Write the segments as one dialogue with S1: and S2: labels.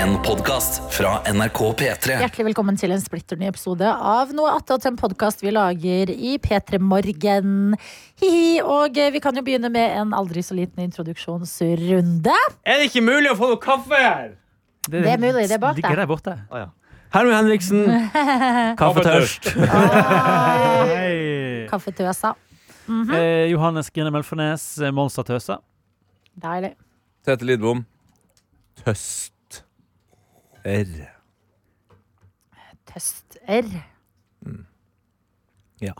S1: En podcast fra NRK P3
S2: Hjertelig velkommen til en splitter ny episode av Noe attåt, en podkast vi lager i P3 Morgen. Hihi, og eh, vi kan jo begynne med en aldri så liten introduksjonsrunde.
S3: Er det ikke mulig å få noe kaffe her?
S2: Det er mulig, det er bak
S4: ligger
S2: der.
S4: der borte.
S3: Herman Henriksen.
S4: Kaffetørst. Hei.
S2: Kaffetøsa. Mhm.
S4: Eh, Johannes Grine Melfarnes, eh, monstertøse.
S2: Deilig.
S3: Tete Lidbom. Tøst. R.
S2: Tøster.
S3: Ja.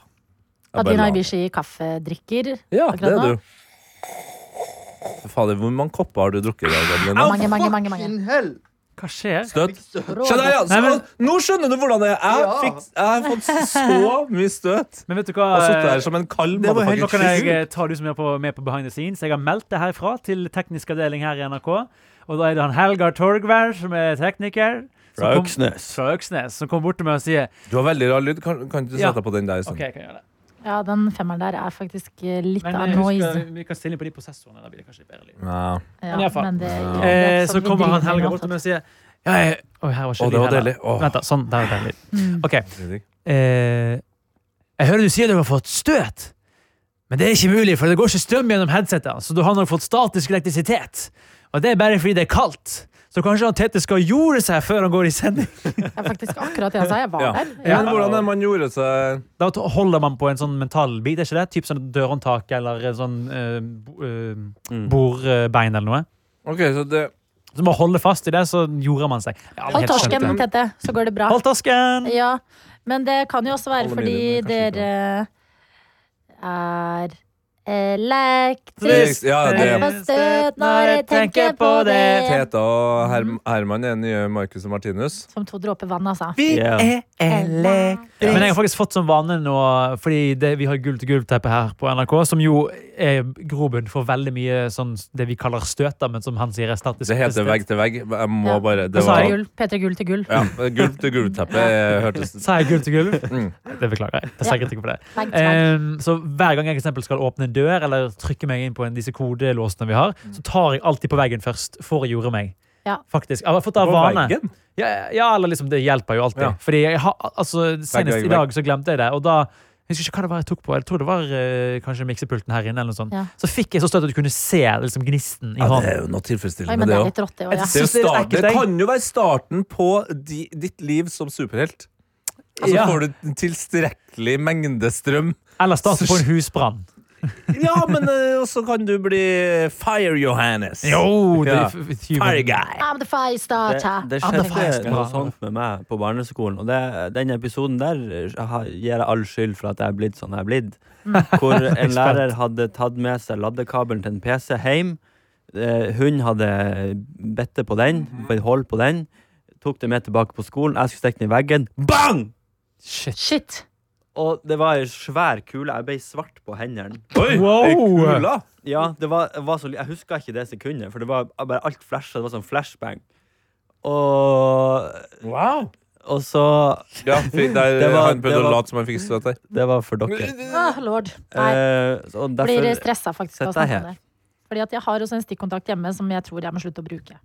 S2: Adina Ibishi kaffedrikker.
S5: Ja, det
S2: akkurat
S5: er
S2: nå.
S5: du. Fader, hvor mange kopper har du drukket i dag, Adeline?
S2: Mange, mange, mange. mange.
S4: Hva skjer?
S5: Støt?
S2: Rå-
S5: Skjønner jeg,
S4: Nei, men-
S5: altså, nå skjønner du hvordan jeg er. Jeg,
S3: Ja.
S5: fikk, jeg har fått så mye støt.
S4: Men vet du hva?
S5: Jeg har sittet
S4: eh,
S5: her som en kald
S4: Det var helt- Nå kan jeg
S5: motherfucker.
S4: eh, ta du som er på, med på behind the scenes. Jeg har meldt det herfra til teknisk avdeling her i NRK. Og da er det han Helgar Torgvær, som er tekniker. som
S3: Fra
S4: kom-
S3: Øksnes.
S4: Fra Øksnes, som kommer bort til meg og sier
S5: Du har veldig rar lyd. Kan, kan ikke du
S4: Ja.
S5: sette deg på den der? sånn? i stedet?
S4: OK, jeg kan gjøre det.
S2: Ja, den femmeren der er faktisk eh, litt
S4: Men
S2: av
S4: eh, husk,
S2: noise.
S4: eh, vi kan stille inn på de prosessorene. Da blir det kanskje litt bedre lyd.
S5: Ja.
S2: Ja,
S4: men i hvert fall.
S2: men det, ja, det er
S4: Eh,
S2: sånn vi
S4: så kommer han
S2: driver med
S4: Helga
S2: noe
S4: bort til
S2: attåt.
S4: meg og sier ja, jeg, Oi, her var
S5: Å,
S4: ikke
S5: det
S4: lyd
S5: var
S4: heller.
S5: deilig. Å.
S4: Vent, da. Sånn. Der var deilig.
S2: Mm.
S4: OK. Eh, jeg hører du sier du har fått støt, men det er ikke mulig, for det går ikke strøm gjennom headsetet, så du har nok fått statisk elektrisitet. Og det er bare fordi det er kaldt. Så kanskje han Tete skal jorde seg før han går i sending.
S2: Det er faktisk akkurat det jeg sa. Jeg var
S5: Ja.
S2: der.
S4: Ja.
S5: Men hvordan er man gjorde seg
S4: Da t- holder man på en sånn mental bit, er ikke det? Typ sånn dørhåndtak eller en sånn eh, bo- eh,
S5: Mm.
S4: bordbein eller noe.
S5: OK, så det
S4: Så man holder fast i det, så jorder man seg. Ja, men
S2: Hold
S4: helt skjønt.
S2: torsken, Tete, så går det bra.
S4: Hold torsken!
S2: Ja, men det kan jo også være
S5: Alle
S2: fordi
S5: mine, men kanskje
S2: dere er eh, elektrisk
S5: Trist. Ja,
S2: Jeg
S5: det
S2: får støt når jeg tenker på det.
S5: Teta og Herm Herman er nye Marcus og Martinus.
S2: Som to dråper vann, altså.
S4: Vi
S3: Ja.
S4: er Ja, men jeg har faktisk fått som vane nå, fordi det, vi har gulv til gulv-teppet her på NRK, som jo er grobunn for veldig mye sånn det vi kaller støter, men som han sier er statisk.
S5: Det heter vegg til vegg. Jeg må
S2: Ja.
S5: bare
S2: Det
S5: Det
S4: sa
S2: var
S4: jeg.
S5: var
S2: gull. P3 Gull til gull.
S5: ja, Gulv til gulvteppe hørtes
S4: Sa jeg gulv til gulv?
S5: Mm.
S4: Det beklager jeg. Det
S2: Ja.
S4: er sikkert ikke på det.
S2: Vegg, vegg.
S4: Ehm, så hver gang jeg for eksempel skal åpne en dør eller trykke meg inn på en, disse kodelåsene vi har, så tar jeg alltid på veggen først for å jorde meg.
S2: Mm. Ja.
S4: Faktisk. Jeg har fått det av
S5: På
S4: vane.
S5: veggen?
S4: Ja, ja, eller liksom, det hjelper jo alltid.
S5: Ja.
S4: Fordi jeg har, altså, senest
S5: vegg,
S4: i dag så glemte jeg det, og da jeg husker ikke hva det var jeg tok på. Jeg tror det var eh, kanskje miksepulten her inne. eller noe sånt.
S2: Ja.
S4: Så fikk jeg så støtt at du kunne se liksom, gnisten i
S5: Ja, det
S4: hånden.
S5: er jo noe
S2: Oi,
S5: tilfredsstillende,
S2: men det
S5: det
S2: er
S5: òg.
S2: litt rått, det òg. Ja.
S4: Jeg
S5: Det, er jo
S4: synes det er litt
S5: starten-
S4: ekkelt,
S5: det
S4: jeg.
S5: kan jo være starten på di, ditt liv som superhelt. Og så
S4: Ja.
S5: får du en tilstrekkelig mengde strøm.
S4: Eller starte på en husbrann.
S5: Ja, men eh, også kan du bli Fire Johannes.
S4: Jo, det
S5: Ja.
S4: er f-
S5: Fire
S4: human.
S5: guy.
S2: I'm the fire
S3: Det,
S2: starter.
S3: det
S4: Ja, det er faktisk
S3: skjedde noe
S4: bra.
S3: sånt med meg på barneskolen. Og det, den episoden der eh, ha- gir jeg all skyld for at jeg er blitt sånn jeg er blitt. Hvor en lærer hadde tatt med seg ladekabelen til en PC hjem. Eh, Hun hadde bitte på den, beholdt på den. Tok det med tilbake på skolen. Jeg skulle stikke den i veggen. Bang!
S4: Shit.
S2: Shit.
S3: Og det var ei svær kule. Jeg ble svart på hendene.
S5: Oi,
S4: Wow.
S5: ei kula.
S3: Ja, det var, det var så, li- jeg huska ikke det sekundet, for det var bare alt flasha. Det var sånn flashbang. Og,
S5: Wow.
S3: og så
S5: Ja, fy- der,
S3: Det var-
S5: han prøvde
S3: det var-
S5: å late som han fikk støt der.
S3: Det var for dere.
S2: Åh, lord. Nei.
S3: Eh, så og
S2: Blir
S3: derfor,
S2: stressa faktisk av å
S3: Sett deg
S2: snakke om
S3: her.
S2: det. Fordi at jeg har også en stikkontakt hjemme som jeg tror jeg må slutte å bruke.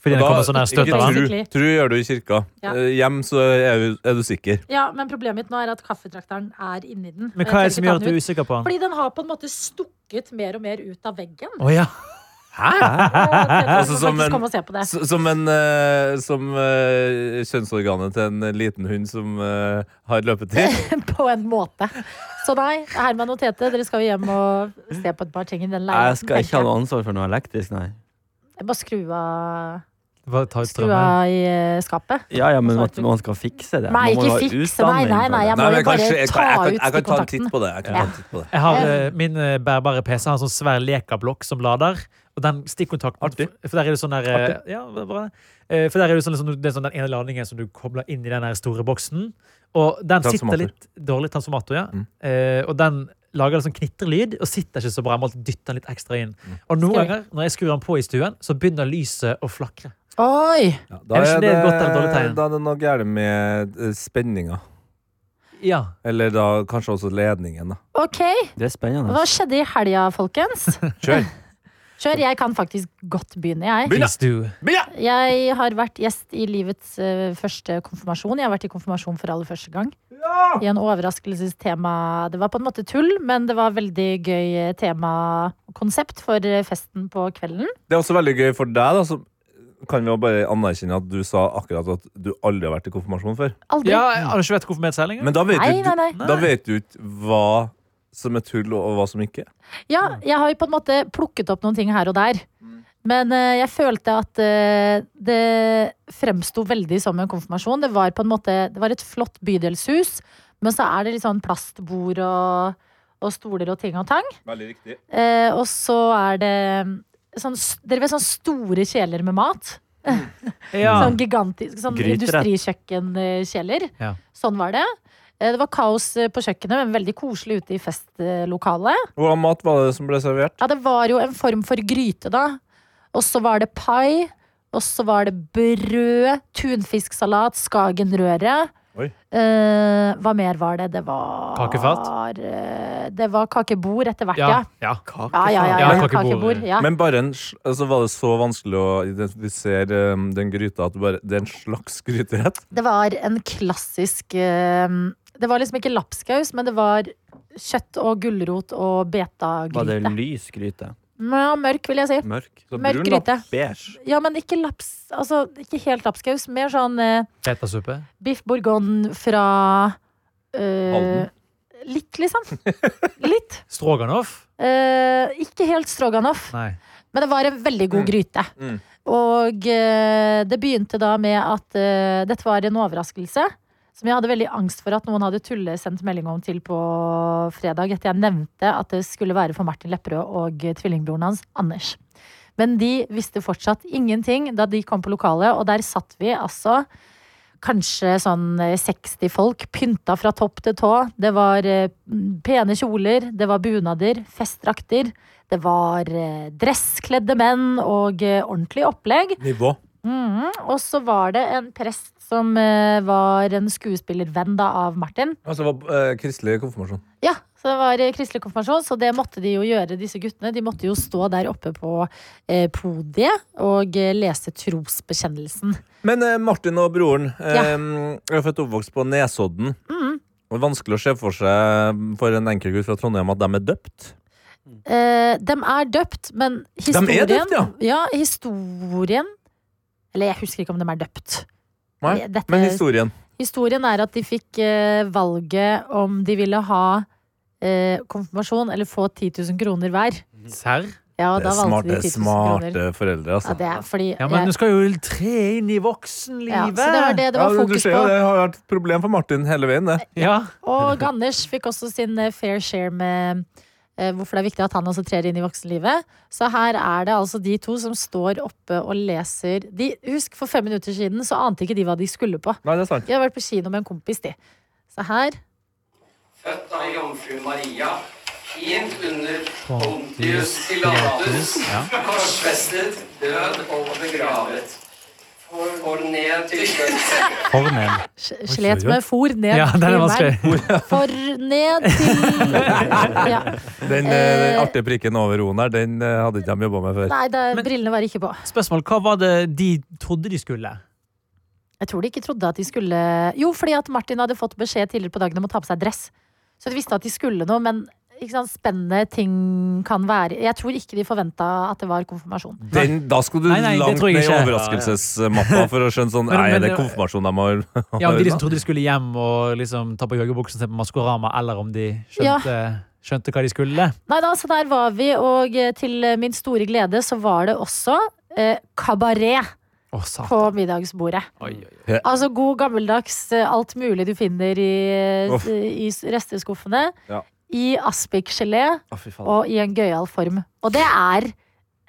S4: Fordi det
S5: Da-
S4: kommer sånne her støt av
S5: ikke
S4: hverandre.
S2: han.
S5: tru, tru gjør du i kirka.
S2: Ja.
S5: Eh, Hjem så er du, er du sikker.
S2: Ja, Men problemet mitt nå er at kaffetrakteren er inni den. Jeg
S4: Men hva
S2: tør
S4: er det som
S2: ikke ta
S4: gjør
S2: den
S4: at du er
S2: ut.
S4: usikker på han?
S2: Fordi den har på en måte stukket mer og mer ut av veggen.
S4: Å ja.
S2: Altså,
S5: som en-
S2: Kom og se på det.
S5: S som en, eh, som eh, kjønnsorganet til en liten hund som eh, har løpetid.
S2: På en måte. Så nei, Herman og Tete, dere skal jo hjem og se på et par ting i den leiligheten.
S3: jeg skal ikke ha
S2: tenker jeg.
S3: noe ansvar for noe elektrisk, nei.
S2: Bare skru av,
S4: Bare ta ut
S2: skru
S4: strømmen.
S2: av i eh, skapet.
S3: Ja, ja, men at noen skal fikse det.
S2: Nei,
S3: Man må
S2: ikke
S3: jo ha
S2: fikse. Nei, nei,
S3: utdanning for
S2: nei. Jeg må
S3: det.
S5: Nei, men
S2: jo
S5: jeg kan
S2: bare
S5: ikke- jeg kan-
S2: ta
S5: jeg kan-
S2: ut
S5: Jeg kan ta en titt
S2: stikkontakten.
S5: på det. Jeg kan ta en titt på det.
S4: Jeg har eh, min eh, bærbare PC har en sånn svær lekablokk som lader. Og den stikkontakten
S5: Artig.
S4: For der er det sånn der eh, Ja, hva- hva er det? Eh, For der er det sånn, liksom, det er sånn den ene ladningen som du kobler inn i den her store boksen. Og den
S5: Transformator. Mm.
S4: sitter litt dårlig transformator, ja. Eh, Og den lager en sånn knitrelyd og sitter ikke så bra. Jeg må alltid dytte den litt ekstra inn.
S5: Mm.
S4: Og noen
S2: Skrur.
S4: ganger når jeg skrur den på i stuen, så begynner lyset å flakre.
S2: Oi!
S5: Ja,
S4: Er ikke det et godt eller dårlig tegn?
S5: Eh, da er det noe galt med eh, spenninga.
S4: Ja.
S5: Eller da kanskje også ledningen. Da.
S2: Ok,
S3: Det er spennende.
S2: hva skjedde i helga, folkens?
S5: Kjør!
S2: Kjør, jeg kan faktisk godt begynne,
S5: Begynn,
S2: jeg.
S5: da.
S4: Please do.
S2: Jeg har vært gjest i livets eh, første konfirmasjon. Jeg har vært i konfirmasjon for aller første gang. I en overraskelsestema. Det var på en måte tull, men det var veldig gøy eh, tema konsept for eh, festen på kvelden.
S5: Det er også veldig gøy for deg, da, som kan vi jo bare anerkjenne at du sa akkurat at du aldri har vært i konfirmasjon før.
S2: Aldri.
S4: Ja, jeg har ikke vært hvorfor med et særling.
S5: Men da vet, du,
S2: Nei, nei, nei.
S5: da vet du ikke hva som er tull, og hva som ikke.
S2: Ja, jeg har jo på en måte plukket opp noen ting her og der.
S4: Mm.
S2: Men eh, jeg følte at eh, det fremsto veldig som en konfirmasjon. Det var på en måte, det var et flott bydelshus, men så er det litt sånn plastbord og, og stoler og ting og tang.
S5: Veldig riktig.
S2: Eh, og så er det sånn, s- dere vet sånn store kjeler med mat?
S4: Ja.
S2: Sånn gigantisk sånn
S3: Gryterett.
S2: industrikjøkkenkjeler.
S4: Ja.
S2: Sånn var det. Eh, Det var kaos eh, på kjøkkenet, men veldig koselig ute i festlokalet.
S5: Hvordan mat var det som ble servert?
S2: Ja, det var jo en form for gryte, da. Og så var det pai. Og så var det brød, tunfisksalat, Skagenrøre.
S5: Oi.
S2: Eh, hva mer var det? Det var
S4: Kakefat?
S2: eh, Det var kakebord etter hvert,
S4: Ja.
S2: ja.
S4: ja.
S2: Ja, ja, ja, ja,
S4: Ja, kakebord.
S2: kakebord. Ja.
S5: Men bare en, sl- altså var det så vanskelig å identifisere um, den gryta at du bare, det er en slags gryterett?
S2: Det var en klassisk eh, Det var liksom ikke lapskaus, men det var kjøtt og gulrot og
S3: Var det
S2: betagryte.
S3: lys gryte?
S2: Ja, mørk, vil jeg si.
S3: Mørk?
S5: Så
S2: Mørk
S5: brun, da.
S2: gryte.
S3: Beige?
S2: Ja, men ikke laps... Altså, ikke helt lapskaus. Mer sånn eh,
S4: Fetasuppe.
S2: biff bourgogne fra eh,
S5: Halden.
S2: Litt, liksom. Litt.
S4: Stroganoff?
S2: Eh, ikke helt stroganoff,
S4: Nei.
S2: men det var en veldig god gryte.
S5: Mm.
S2: Og eh, det begynte da med at eh, dette var en overraskelse. Som jeg hadde veldig angst for at noen hadde tullesendt melding om til på fredag. Etter jeg nevnte at det skulle være for Martin Lepperød og eh, tvillingbroren hans, Anders. Men de visste fortsatt ingenting da de kom på lokalet, og der satt vi altså kanskje sånn eh, 60 folk, pynta fra topp til tå. Det var eh, pene kjoler, det var bunader, festdrakter. Det var eh, dresskledde menn og eh, ordentlig opplegg.
S5: Nivå.
S2: Mhm. Og så var det en prest som eh, var en skuespillervenn da, av Martin.
S5: Altså det var eh, kristelig konfirmasjon.
S2: Ja, så det var eh, kristelig konfirmasjon, så det måtte de jo gjøre, disse guttene. De måtte jo stå der oppe på eh, podiet og eh, lese trosbekjennelsen.
S5: Men eh, Martin og broren
S2: Ja. Mm.
S5: eh, er født og oppvokst på Nesodden. Det er vanskelig å se for seg um, for en enkel gutt fra Trondheim at de er døpt.
S2: Eh, dem er døpt, men
S5: er
S2: historien
S5: døpt, ja.
S2: historien Eller jeg husker ikke om dem er døpt.
S5: Nei,
S2: Dette-
S5: Men historien.
S2: Historien er at de fikk eh, valget om de ville ha eh, konfirmasjon eller få 10 000 kroner hver.
S4: Serr?
S2: Ja, og
S5: det
S2: da
S5: er
S2: valgte
S5: smarte,
S2: de 10 000 kroner.
S5: smarte foreldre,
S2: Ja,
S5: altså.
S2: det er fordi
S4: Ja, men
S2: jeg-
S4: du skal jo tre inn i
S2: ja,
S4: voksenlivet!
S2: Så det var det det var
S5: Ja, du
S2: fokus
S5: ser jo,
S2: på.
S5: det har vært et problem for Martin hele veien, det.
S4: Ja.
S2: Og Anders fikk også sin eh, fair share med eh, hvorfor det er viktig at han også trer inn i voksenlivet. Så her er det altså de to som står oppe og leser de, Husk, for fem minutter siden så ante ikke de hva de skulle på.
S5: Nei, det er sant.
S2: De har vært på kino med en kompis, de. Så her
S6: Født av jomfru Maria, tjent under Pontius Pilatus, korsfestet, død og begravet. For ned til dødsriket.
S4: Fornem.
S2: sl- slet med for ned
S4: Ja, den er
S2: til
S4: vanskelig.
S2: verden. For ned til ja.
S5: Den, eh, den artige prikken over o-en der, den eh, hadde ikke de jobba med før.
S2: Nei, da, brillene var ikke på.
S4: Spørsmål. Hva var det de trodde de skulle?
S2: Jeg tror de ikke trodde at de skulle Jo, fordi at Martin hadde fått beskjed tidligere på dagen om å ta på seg dress. Så de visste at de skulle noe, men ikke sant, spennende ting kan være Jeg tror ikke de forventa at det var konfirmasjon.
S4: Mm.
S5: Den, da skal du
S4: Nei, nei, det
S5: langt
S4: tror jeg
S5: ned i
S4: ikke.
S5: overraskelsesmappa for å skjønne sånn
S4: Men-
S5: Nei,
S4: men-
S5: det er konfirmasjon de har
S4: Ja, Om de liksom trodde de skulle hjem og liksom ta på joggebuksen og se på Maskorama, eller om de skjønte, skjønte hva de skulle?
S2: Nei da, så der var vi, og eh, til eh, min store glede så var det også eh, kabaret
S4: Å, satan.
S2: på middagsbordet.
S4: Ah. Oi, oi, oi.
S2: Altså god gammeldags eh, alt mulig du finner i, eh,
S5: Uff.
S2: i s- resteskuffene.
S5: Ja.
S2: I aspikgelé
S3: Å, fy faen.
S2: og i en gøyal form. Og det er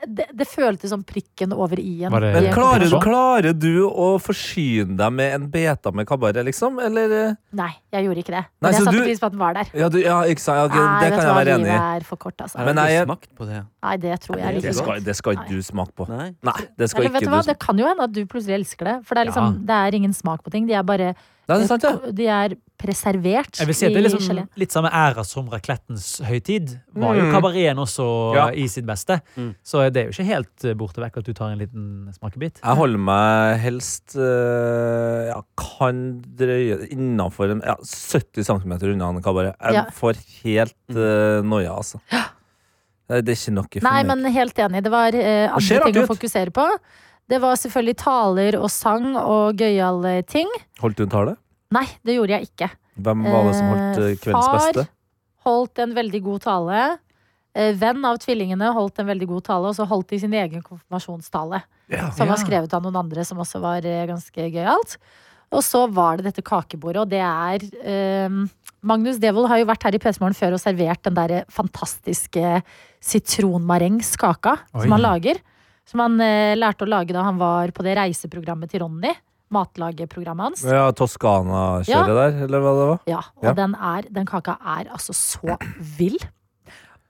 S2: det, det føltes som prikken over i-en.
S4: Var det-
S2: i
S5: Men
S2: en
S5: klarer,
S2: konfirmasjon.
S5: klarer du å forsyne deg med en beta med kabaret, liksom? Eller eh,
S2: Nei, jeg gjorde ikke det.
S5: Nei,
S2: Men jeg
S5: så
S2: satte
S5: du-
S2: pris på at den var der.
S5: Ja, du, ja ikke sant? Ja, det,
S2: Nei,
S5: det
S2: vet
S5: kan
S2: du
S5: jeg
S2: hva,
S5: være enig i.
S2: livet er for kort, altså.
S3: Jeg har
S5: jeg-
S3: ikke smakt på det.
S2: Nei, det tror jeg
S5: Det
S2: ikke.
S5: skal, det skal ikke
S2: Nei.
S5: du smake på.
S3: Nei.
S5: Nei, det skal
S2: Eller
S5: ikke
S2: vet
S5: du
S2: du hva,
S5: smake
S2: det kan jo hende at du plutselig elsker det. For det er liksom, det er ingen smak på ting. De er bare
S5: Nei, det er sant, ja.
S2: De er preservert
S4: Jeg vil si at det
S2: i
S4: er liksom
S2: gelé.
S4: litt samme æra som Raclettens høytid. Var jo
S5: Mm.
S4: kabareten også
S5: Ja.
S4: i sitt beste.
S3: Mm.
S4: Så det er jo ikke helt eh, borte vekk at du tar en liten smakebit.
S5: Jeg holder meg helst eh, ja, kan drøye innafor ja, 70 cm unna en kabaret. Jeg
S2: Ja.
S5: får helt eh, noia, altså. Det det er ikke noe for
S2: Nei,
S5: meg.
S2: men helt enig. Det var eh,
S5: ser
S2: andre
S5: artig
S2: ting å
S5: ut.
S2: fokusere på. Det var selvfølgelig taler og sang og gøyale ting.
S5: Holdt du en tale?
S2: Nei, det gjorde jeg ikke.
S5: Hvem var det som holdt eh,
S2: Eh,
S5: kveldens
S2: far
S5: beste?
S2: holdt en veldig god tale. Eh, Venn av tvillingene holdt en veldig god tale, og så holdt de sin egen konfirmasjonstale. Som var
S4: Ja.
S2: skrevet av noen andre, som også var eh, ganske gøyalt. Og så var det dette kakebordet, og det er eh, Magnus Devold har jo vært her i PC Morgen før og servert den der fantastiske sitronmarengskaka
S4: Oi.
S2: som han lager. Som han eh, lærte å lage da han var på det reiseprogrammet til Ronny. Matlageprogrammet hans.
S5: Ja, Toskana-kjøret
S2: Ja.
S5: der, eller hva det var?
S2: Ja, og
S5: Ja.
S2: Den, er, den kaka er altså så vill.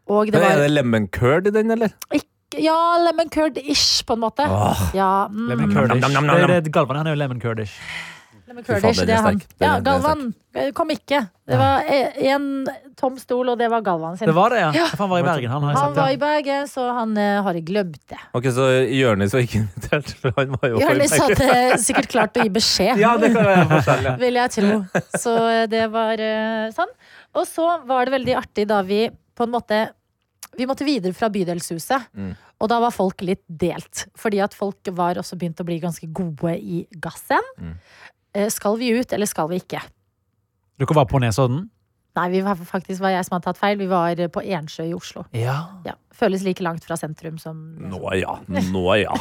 S2: Og det
S5: Men Er
S2: var
S5: det lemon curd i den, eller?
S2: Ja, lemon curd-ish, på en måte.
S5: Åh,
S2: Ja, mm,
S4: Lemon
S5: Nam,
S4: curdish.
S5: nam, nam, nam,
S4: Det er
S5: nam.
S4: det Galvan han er jo lemon curdish.
S2: lemon
S5: Fy faen,
S2: curd-ish,
S5: den
S2: det
S5: er
S2: er han.
S5: sterk. Den
S2: Ja,
S5: er- den er
S2: Galvan eh, kom ikke. Det var én tom stol, og det var Galvan sin.
S4: Det var det, ja. For han var i Bergen. Han har jeg
S2: Han var i
S4: sett.
S2: Bergen, så han eh, har glemt det.
S5: Ok, så Jonis var ikke invitert, for han var jo
S2: Jonis
S5: forberedt.
S2: hadde eh, sikkert klart å gi beskjed,
S5: Ja, det kan være forskjellig.
S2: vil jeg tro. Så eh, det var eh, sånn. Og så var det veldig artig da vi på en måte Vi måtte videre fra Bydelshuset.
S5: Mm.
S2: Og da var folk litt delt. Fordi at folk var også begynt å bli ganske gode i gassen.
S5: Mm.
S2: Eh, Skal vi ut, eller skal vi ikke?
S4: ja. Dere var på Nesodden?
S2: Nei, vi var faktisk var jeg som hadde tatt feil. Vi var eh, på Ensjø i Oslo.
S4: Ja.
S2: Ja, Føles like langt fra sentrum som
S5: Nå ja, nå ja.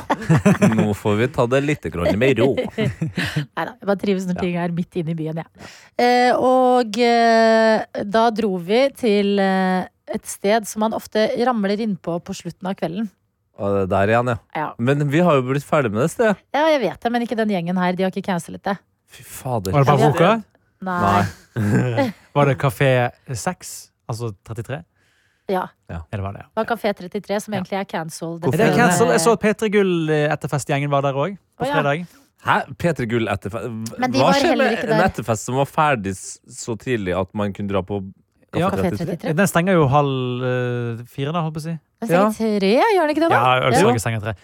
S5: Nå får vi ta det litt grann med ro.
S2: Nei da, jeg bare trives når ting er midt inne i byen, jeg. Eh, og eh, da dro vi til eh, et sted som man ofte ramler innpå på slutten av kvelden.
S5: Og det der igjen, ja.
S2: Ja,
S5: Men vi har jo blitt ferdig med det stedet.
S2: ja jeg vet det, men ikke den gjengen her. De har ikke cancelet det.
S5: Fy fader.
S4: Var det Baroka?
S2: Nei.
S5: Nei.
S4: Var det Kafé 6? Altså 33?
S2: Ja.
S4: Ja, det var det, ja.
S2: Det var Kafé 33, som egentlig er cancelled.
S4: Er det cancel? Jeg så at P3 Gull eh, etterfestgjengen var der òg, på
S2: Å, ja.
S4: fredag.
S5: Hæ? P3 Gull etterfest?
S2: Men de
S5: Hva
S2: var
S5: skjer
S2: heller
S5: med
S2: ikke
S5: en
S2: der.
S5: etterfest som var ferdig s- så tidlig at man kunne dra på Kafé
S4: Ja.
S2: Kafé
S5: 33?
S2: 33?
S4: Den stenger jo halv eh, fire, da, holdt på å si.
S2: Men stenger tre, gjør den ikke det, da?
S4: Ja, Ølslaget stenger tre.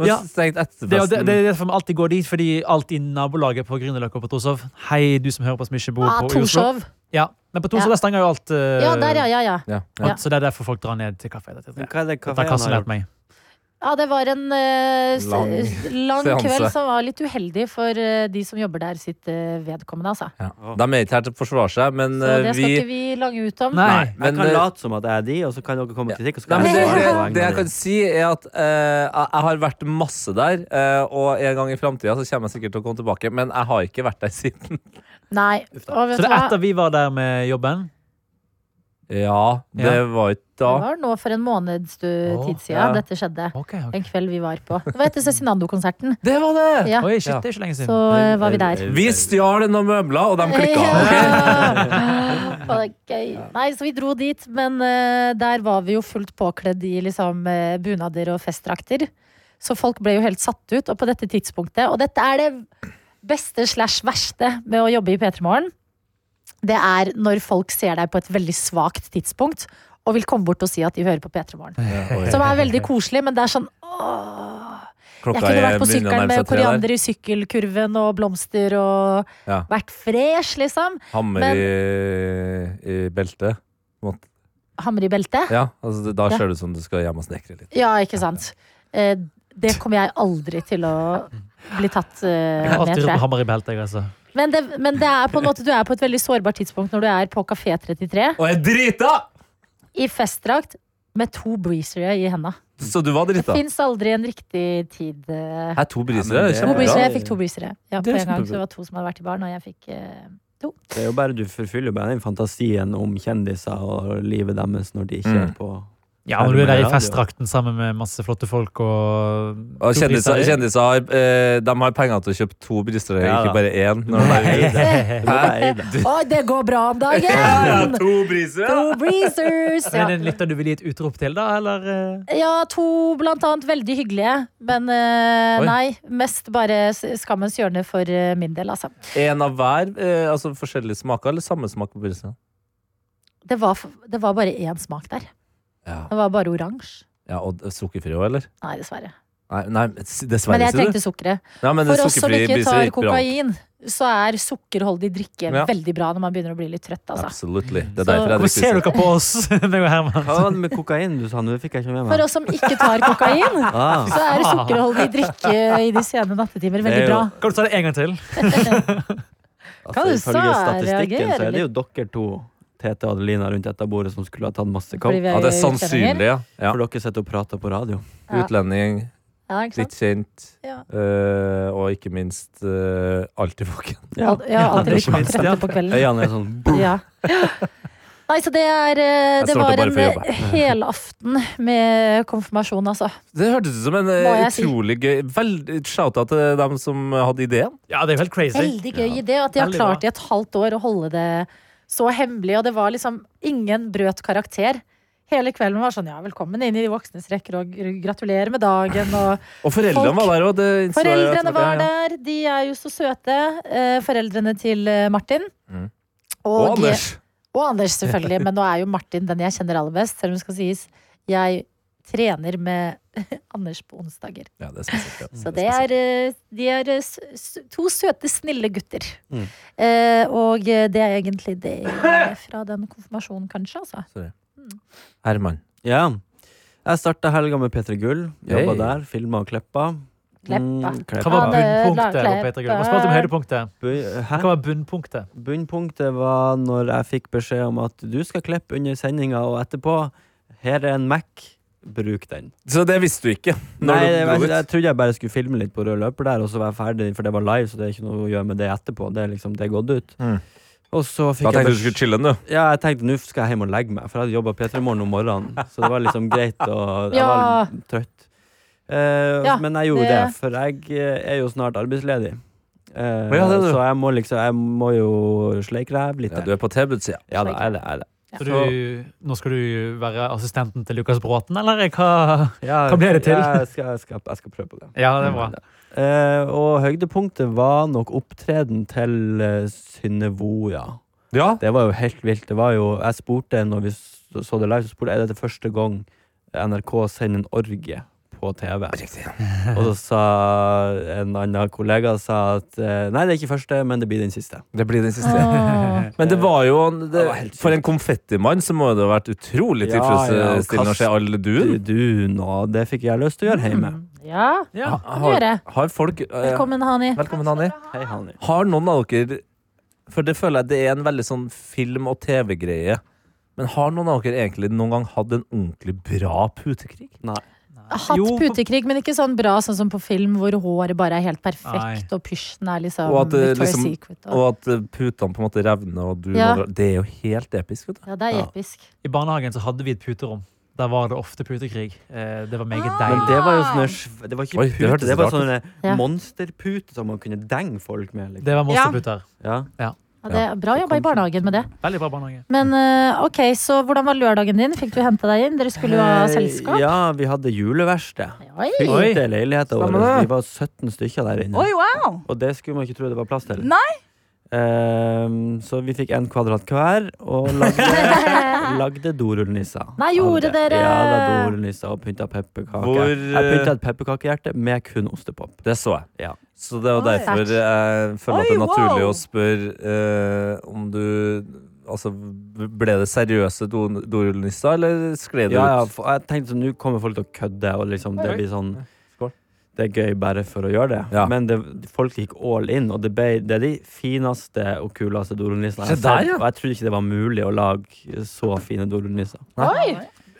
S5: Men
S4: Ja.
S5: så stengt
S4: Det, er- det,
S5: etterfesten.
S4: det er derfor vi alltid går dit, fordi alt i nabolaget på Grünerløkka og på Torshov Hei, du som hører på som ikke bor
S2: Ah,
S4: på i Oslo.
S2: Torshov.
S4: Ja, Men på Torshov
S2: Ja.
S4: der stenger jo alt. eh,
S2: Ja, der, ja, ja, ja.
S5: Ja,
S4: alt,
S5: ja.
S4: Så det er derfor folk drar ned til kafé.
S3: Men
S4: Dette
S3: Hva er det
S4: har
S3: kafeen
S4: Karsten
S3: har
S4: lært
S3: gjort?
S4: meg.
S2: Ja, det var en eh, s-
S5: Lang
S2: lang
S5: seanse.
S2: kveld som var litt uheldig for eh, de som jobber der sitt eh, vedkommende, altså.
S5: Ja. De er ikke her til å forsvare seg, men
S2: Så det
S5: eh,
S2: skal
S5: vi
S2: ikke vi lange ut om.
S4: Nei.
S5: Nei,
S3: Jeg
S5: men,
S3: kan
S5: eh,
S3: late som at jeg er de, og så kan dere komme med kritikk. Og så
S5: Nei,
S3: kan
S5: men det,
S3: jeg svare på
S5: det,
S3: en
S5: det jeg
S3: gang.
S5: kan si, er at eh, jeg jeg har vært masse der. eh, og en gang i framtida kommer jeg sikkert til å komme tilbake, men jeg har ikke vært der siden.
S2: Nei. Og
S4: Så
S2: vet
S4: det
S2: du
S4: er
S2: hva?
S4: etter vi var der med jobben.
S5: Ja, det
S4: Ja.
S5: var ikke da.
S2: Det var nå for en måneds du,
S4: Å,
S2: tid siden
S5: ja.
S2: dette skjedde.
S4: Ok, ok.
S2: En kveld vi var på. Det var etter Cezinando-konserten.
S5: Det var det!
S2: Ja,
S4: Oi, shit,
S5: Ja.
S4: det er ikke lenge
S2: så
S4: siden.
S2: eh, var vi der.
S5: Vi stjal noen møbler, og de klikka.
S2: Ja. Å, det er gøy. Nei, så vi dro dit, men eh, der var vi jo fullt påkledd i liksom eh, bunader og festdrakter. Så folk ble jo helt satt ut, og på dette tidspunktet Og dette er det beste slash verste med å jobbe i P3 Morgen. Det er når folk ser deg på et veldig svakt tidspunkt og vil komme bort og si at de hører på P3 Morgen. Som er veldig koselig, men det er sånn åh. Jeg kunne vært på sykkelen med koriander i sykkelkurven og blomster og
S5: Ja.
S2: vært fresh, liksom.
S5: Hammer
S2: Men-
S5: i, i beltet.
S2: Hammer i beltet.
S5: Ja, altså, det- da
S2: Ja.
S5: ser det ut som du skal hjem og snekre litt.
S2: Ja, ikke sant. Eh, det kommer jeg aldri til å bli tatt eh,
S4: Jeg
S2: med,
S4: har alltid
S2: tror
S4: rodd
S2: jeg.
S4: hammer i beltet. jeg, Altså.
S2: Men det, men det er på en måte, du er på et veldig sårbart tidspunkt når du er på Kafé 33
S5: Og jeg drita!
S2: i festdrakt med to breezere i henda.
S5: Så du var
S2: Det
S5: drita?
S2: fins aldri en riktig tid. eh.
S5: Her, to briser.
S3: Ja, men
S5: det
S3: det-
S5: er
S2: To
S3: Hvor bra.
S2: breezere,
S5: kjempebra.
S2: jeg fikk to breezere. Ja,
S5: Det
S2: på
S5: er
S2: en gang så
S5: kjempebra.
S2: det var to som hadde vært i baren, og jeg fikk eh,
S3: Det er jo bare Du forfyller jo bare den fantasien om kjendiser og livet deres når de ikke
S5: Mm.
S3: er på
S4: Ja, når du er der
S3: Ja,
S4: i
S3: det-
S4: festdrakten sammen med masse flotte folk og
S5: Og
S4: to
S5: kjendiser,
S4: priser.
S5: kjendiser har, eh, de har penger til å kjøpe to brister,
S3: Ja,
S5: ikke
S3: da.
S5: bare én. Når de er
S3: Nei, det-
S4: Men
S5: Hæ?
S2: Oi, det går bra om dagen!
S5: to briser, ja.
S2: To breezers!
S4: Er
S2: Ja.
S4: det en lytter du vil gi et utrop til, da? Eller? eh?
S2: ja, to blant annet veldig hyggelige. Men eh,
S5: Oi.
S2: nei, mest bare s- skammens hjørne for eh, min del, altså.
S5: En av hver? Eh, altså forskjellige smaker, eller samme smak på brisene?
S2: Det var, f- det var bare én smak der.
S5: Ja.
S2: Det var bare oransje.
S5: ja, Og sukkerfri òg, eller?
S2: Nei, dessverre.
S5: Nei, nei
S2: Men
S5: dessverre,
S2: jeg
S5: sier du.
S2: trengte sukkeret.
S5: Ja, men
S2: For oss som
S5: sukkerfrie
S2: ikke
S5: briser
S2: tar
S5: gikk bra.
S2: kokain, så er sukkerholdig drikke
S5: Ja.
S2: veldig bra når man begynner å bli litt trøtt, altså.
S5: Absolutely. Det
S2: Så-
S5: er derfor jeg
S4: Hvorfor ser
S5: drikker
S4: dere på oss? meg og Herman?
S3: Hva var det med kokain du sa? Nå fikk jeg ikke med
S2: For
S3: meg.
S2: oss som ikke tar kokain,
S3: Ah,
S2: så er sukkerholdig drikke i de sene nattetimer
S3: Det
S2: veldig
S3: er
S2: bra.
S3: jo-
S4: Kan du ta det en gang til?
S2: Hva du
S3: altså,
S2: sa,
S3: ifølge
S2: jeg
S3: statistikken så
S2: reagerer
S3: er det jo dere to, Tete og Adelina, rundt dette bordet som skulle ha tatt masse coke.
S2: Fordi vi
S5: Ja, det er
S2: utlendinger.
S5: sannsynlig, ja. ja.
S3: For dere sitter og prater på radio.
S2: Ja.
S5: Utlending,
S2: Ja, ikke sant?
S5: litt kjent,
S2: Ja.
S5: eh, og ikke minst eh, alltid våken.
S2: Al- Ja, alltid litt trøtte på kvelden.
S3: Øynene er sånn
S2: Ja. Nei, så det er eh,
S5: Jeg
S2: Det
S5: starter
S2: var
S5: bare
S2: en
S5: for å jobbe.
S2: eh, helaften med konfirmasjon, altså.
S5: Det hørtes ut som en eh,
S2: Må jeg si.
S5: utrolig gøy Veldig shout-out til dem som hadde ideen.
S4: Ja, det er jo helt crazy.
S2: Veldig gøy idé at de har
S4: Veldig bra.
S2: klart i et halvt år å holde det så hemmelig. Og det var liksom ingen brøt karakter. Hele kvelden var sånn ja, velkommen inn i de voksnes rekker og gr- gratulerer med dagen. Og
S5: Og foreldrene
S2: Folk-
S5: var der òg.
S2: foreldrene var der, de er jo så søte. Eh, foreldrene til eh, Martin.
S5: Mm.
S2: Og,
S5: Og
S2: G-
S5: Anders.
S2: og Anders, selvfølgelig. Men nå er jo Martin den jeg kjenner aller best, selv om det skal sies jeg trener med Anders på onsdager.
S5: Ja, Mm, det er spesielt, ja.
S2: Så det er, eh, de er eh, s- s- to søte, snille gutter.
S3: Mm.
S2: Eh, og eh, det er egentlig det eh, fra den konfirmasjonen, kanskje. Altså.
S5: Herman.
S3: Ja. Jeg starta helga med P3 Gull. Jobba
S5: Hey.
S3: der. Filma og kleppa.
S2: Kleppa.
S3: Mm,
S4: Hva
S2: Ja, det-
S4: var bunnpunktet? på Peter Gull? Hva spurte om høydepunktet?
S3: Bu- Hæ?
S4: Hva var bunnpunktet?
S3: Bunnpunktet var når jeg fikk beskjed om at du skal klippe under sendinga, og etterpå Her er en Mac. Bruk den.
S5: Så det visste du ikke? Når
S3: Nei,
S5: du
S3: jeg,
S5: dro
S3: jeg,
S5: ut.
S3: trodde jeg bare skulle filme litt på rød løper der, og så var jeg ferdig, for det var live, så det er ikke noe å gjøre med det etterpå. Det er liksom, det er gått ut.
S5: Mm.
S3: Og så
S5: Da
S3: fikk jeg
S5: tenkte du
S3: besk-
S5: skulle chille den, du.
S3: Ja, jeg tenkte nå skal jeg hjem og legge meg, for jeg hadde jobba P3 Morgen om morgenen. Så det var liksom greit, og jeg
S2: Ja.
S3: var trøtt. Eh,
S2: Ja,
S3: men jeg gjorde det,
S2: det-
S3: for jeg eh, er jo snart arbeidsledig. Eh,
S5: Ja, det er du.
S3: så jeg må liksom Jeg må jo sleike ræv litt.
S5: Ja,
S3: her.
S5: du er på T-budsida.
S3: Ja da, jeg er det. Jeg er det.
S4: Så du, nå skal du være assistenten til Lukas Bråten, eller hva?
S3: Ja,
S4: Hva blir det til?
S3: Jeg skal, jeg, skal, jeg skal prøve på det.
S4: Ja, det er bra.
S3: Eh, og høydepunktet var nok opptreden til eh, Synnevo, ja.
S5: Ja.
S3: Det var jo helt vilt. Det var jo, jeg spurte når vi så så det live, så spurte jeg, er dette første gang NRK sender en orgie på TV. Og så sa en annen kollega sa at eh, nei, det er ikke første, men det blir den siste.
S5: Det blir den siste.
S2: Åh.
S5: Men det var jo det,
S3: var helt sykt.
S5: For en konfettimann så må det ha vært utrolig
S3: Ja,
S5: tilfredsstillende
S3: ja,
S5: å se all
S3: Du,
S5: duen.
S3: du nå, det fikk jeg lyst til å gjøre hjemme.
S2: Ja,
S4: Ja.
S2: kan du gjøre.
S5: Har folk eh,
S2: Velkommen, Hani.
S5: Velkommen, Hanni.
S3: Hei, Hanni.
S5: Har noen av dere For det føler jeg det er en veldig sånn film- og TV-greie. Men har noen av dere egentlig noen gang hatt en ordentlig bra putekrig?
S3: Nei.
S2: Hatt
S4: Jo, på-
S2: putekrig, men ikke sånn bra sånn som på film, hvor håret bare er helt
S4: Nei.
S2: perfekt, og pysjen er liksom
S5: Og at det
S2: Victoria's
S5: liksom-
S2: Secret. Og,
S5: Og at eh, putene på en måte revner, og du
S2: Ja.
S5: må dra- Det er jo helt episk, vet du.
S2: ja, det er
S3: Ja.
S2: episk.
S4: I barnehagen så hadde vi et puterom. Der var det ofte putekrig. Eh, Det var meget
S3: Men
S4: deilig.
S3: det var jo sånne sv- Det var ikke
S5: Oi, det
S3: pute,
S5: hørtes
S3: det, var
S5: rart ut.
S3: sånne
S2: Ja.
S3: monsterpute som man kunne denge folk med. Liksom.
S4: Det var monsterputer.
S3: Ja.
S2: Ja, det er bra jobba i barnehagen med det.
S4: Veldig bra barnehage.
S2: Men eh, ok, så hvordan var lørdagen din? Fikk du hente deg inn? Dere skulle jo ha
S3: Eh,
S2: selskap.
S3: Ja, vi hadde juleverksted.
S2: Oi.
S4: Oi.
S3: Fylte leiligheta vår.
S5: Stemmer det.
S3: Vi var 17 stykker der inne.
S7: Oi, wow!
S3: Og det skulle man ikke tro det var plass til.
S7: Nei.
S3: Ehm, så vi fikk én kvadrat hver, og lagde, lagde dorullnisser.
S2: Nei, gjorde
S3: Av det.
S2: dere?
S3: Ja, da, dorullnisser og pynta pepperkaker.
S5: Hvor, eh,
S3: Jeg pynta et pepperkakehjerte med kun ostepop.
S5: Det så jeg.
S3: Ja.
S5: Så det er jo
S7: Oi.
S5: derfor jeg føler at det er
S7: Oi,
S5: naturlig
S7: wow.
S5: å spørre eh, om du Altså, ble det seriøse do- dorullnisser, eller skled det
S3: Ja, ja,
S5: ut?
S3: for jeg tenkte sånn, nå kommer folk til å kødde, og liksom, det
S5: Oi.
S3: blir sånn
S5: Skål.
S3: Det er gøy bare for å gjøre det.
S5: Ja.
S3: Men det, folk gikk all in, og det, ble, det er de fineste og kuleste dorullnissene jeg
S5: Se
S3: har
S5: der,
S3: sett,
S5: ja.
S3: Og jeg trodde ikke det var mulig å lage så fine dorullnisser.
S7: Oi!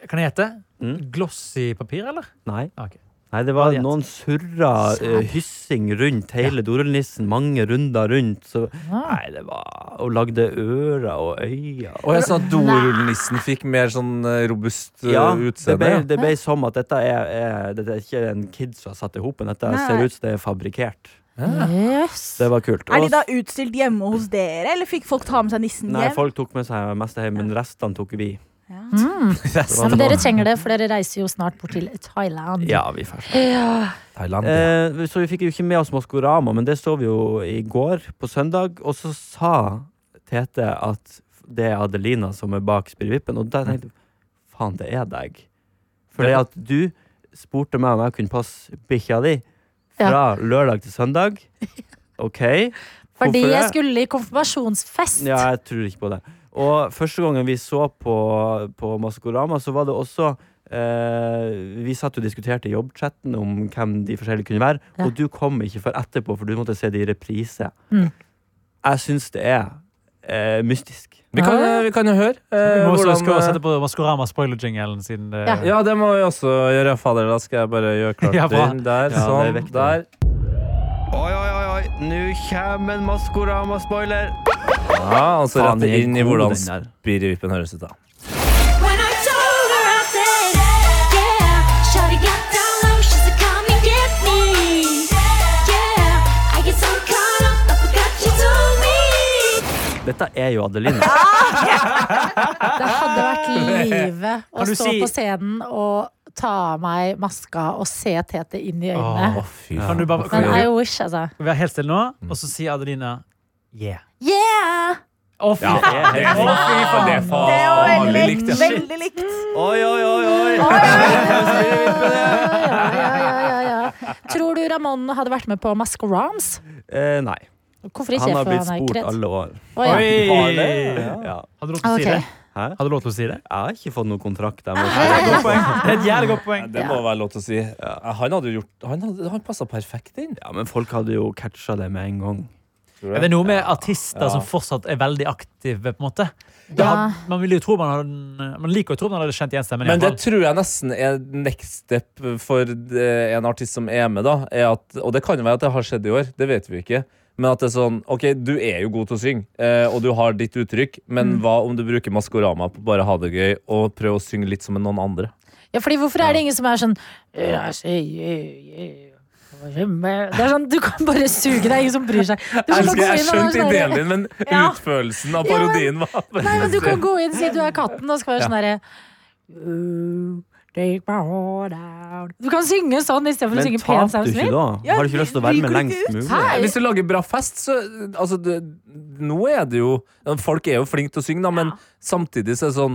S4: Kan jeg gjette?
S3: Mm.
S4: Glossy papir, eller?
S3: Nei.
S4: Ok.
S3: Nei, det var
S4: Hva het?
S3: noen surra eh, hyssing rundt hele dorullnissen, mange runder rundt. Så,
S2: Ah.
S3: nei, det var Og lagde ører og øyne.
S5: Og jeg sa at dorullnissen fikk mer sånn eh, robust eh,
S3: Ja, det
S5: utseende.
S3: ble,
S5: ja.
S3: det ble som at dette er, er, dette er ikke en kid som har satt det ihop, men dette
S7: Nei.
S3: ser ut som det er fabrikkert.
S2: Yes.
S3: Det var kult.
S7: Er
S3: Og-
S7: de da utstilt hjemme hos dere, eller fikk folk ta med seg nissen
S3: Nei,
S7: hjem?
S3: folk tok med seg mest hjem, men restene tok vi. sånn-
S2: Ja, men dere trenger det, for dere reiser jo snart bort til Thailand.
S3: Ja, vi først.
S5: Thailand. ja.
S3: Eh, så vi fikk jo ikke med oss Maskorama, men det så vi jo i går, på søndag. Og så sa Tete at det er Adelina som er bak Spirrevippen, og da tenkte jeg faen, det er deg. Fordi at du spurte meg om jeg kunne passe bikkja di fra lørdag til søndag. OK.
S2: Fordi
S3: Hvorfor det?
S2: jeg skulle i konfirmasjonsfest.
S3: Ja, jeg tror ikke på det. Og første gangen vi så på, på Maskorama, så var det også eh, Vi satt og diskuterte i jobbchatten om hvem de forskjellige kunne være,
S2: Ja.
S3: og du kom ikke før etterpå, for du måtte se det i reprise.
S2: Mm.
S3: Jeg syns det er eh, mystisk.
S5: Vi, kan, eh, vi kan jo høre. eh,
S4: Vi må også
S5: hvordan,
S4: huske å
S5: eh,
S4: sette på Maskorama-spoiler-jingelen siden eh,
S2: Ja.
S5: ja, det må vi også gjøre. Fader, da skal jeg bare gjøre klart
S4: Ja, bra.
S5: den der.
S3: Ja,
S5: sånn.
S3: det er viktig.
S5: Der.
S3: Oi, oi, oi, oi. nå kommer en Maskorama-spoiler!
S5: Ja, og så
S3: Faen,
S5: rett
S3: den er
S5: inn i
S3: god,
S5: hvordan
S3: den der.
S5: spirrevippen høres ut, da.
S8: When I told her I said, yeah, Shawty got down low, she said, come and get me. Yeah, I get so caught up, I forgot you told me.
S3: Dette er jo Adeline.
S2: Det hadde vært livet å
S4: Kan du
S2: stå
S4: si-
S2: på scenen og ta av meg maska og se Tete inn i øynene.
S5: Å, fy
S4: Kan du bare
S2: Men
S4: kan
S2: I wish, altså.
S4: vi være helt stille nå? Og så sier Adelina yeah.
S2: Yeah!
S4: Å, fy
S5: Ja,
S4: faen.
S5: det er faen. Det er
S7: Det er jo
S5: faen.
S7: veldig
S5: Ah, Veldig
S7: likt.
S5: likt, ja.
S7: Veldig likt.
S3: Oi, oi, oi, oi!
S2: Ja, ja, ja, ja, ja. Tror du Ramón hadde vært med på Mascaroms?
S3: Eh, nei.
S2: Hvorfor ikke?
S3: Han har
S2: for
S3: blitt
S2: er ikke
S3: spurt
S2: redd.
S3: alle år.
S2: Å, ja.
S4: Oi!
S3: Ja.
S4: Hadde du lov til å si
S2: Ok.
S4: det?
S3: Hæ?
S4: Hadde du lov til å si det?
S3: Jeg har ikke fått noen kontrakt. Jeg må
S4: Det
S3: si.
S4: er et godt poeng. Det er et jævlig godt poeng.
S5: Det må være lov til å si. Han hadde jo gjort Han, hadde- han passa perfekt inn.
S3: Ja, men folk hadde jo catcha det med en gang.
S4: Er det noe med artister som fortsatt er veldig aktive, på en måte? Det har- Man, vil jo tro man, har, man liker jo å tro man hadde kjent igjen stemmen. i
S5: Men det
S4: hvert fall.
S5: tror jeg nesten er next step for eh, en artist som er med, da. Er at, og det kan jo være at det har skjedd i år, det vet vi ikke. Men at det er sånn OK, du er jo god til å synge, eh, og du har ditt uttrykk, men
S2: Mm.
S5: hva om du bruker Maskorama på bare ha det gøy, og prøve å synge litt som noen andre?
S2: Ja, fordi hvorfor er det ingen som er sånn «Ja, jeg sier, «Øh, ja, ja, hva er det med?» Det er sånn, Du kan bare suge deg, ingen som bryr seg. Du kan gå inn og være sånn der-
S5: din, men
S2: Ja.
S5: utførelsen av
S2: Ja, men-
S5: var
S2: Nei, men du kan gå inn, si du er katten, og så kan det være sånn «Øh, derre «Ooh, Take my heart out Du kan synge sånn istedenfor å
S3: Men
S2: synge pen
S3: tapte du ikke
S2: sausmil.
S3: da?
S7: Ja,
S3: Har du ikke lyst til å være
S7: ryker
S3: med
S7: du
S3: lengst
S7: ikke
S3: mulig?
S2: Hæ?
S5: Hvis du lager bra fest, så altså, det, Nå er det jo Folk er jo flinke til å synge, da, men samtidig så er det sånn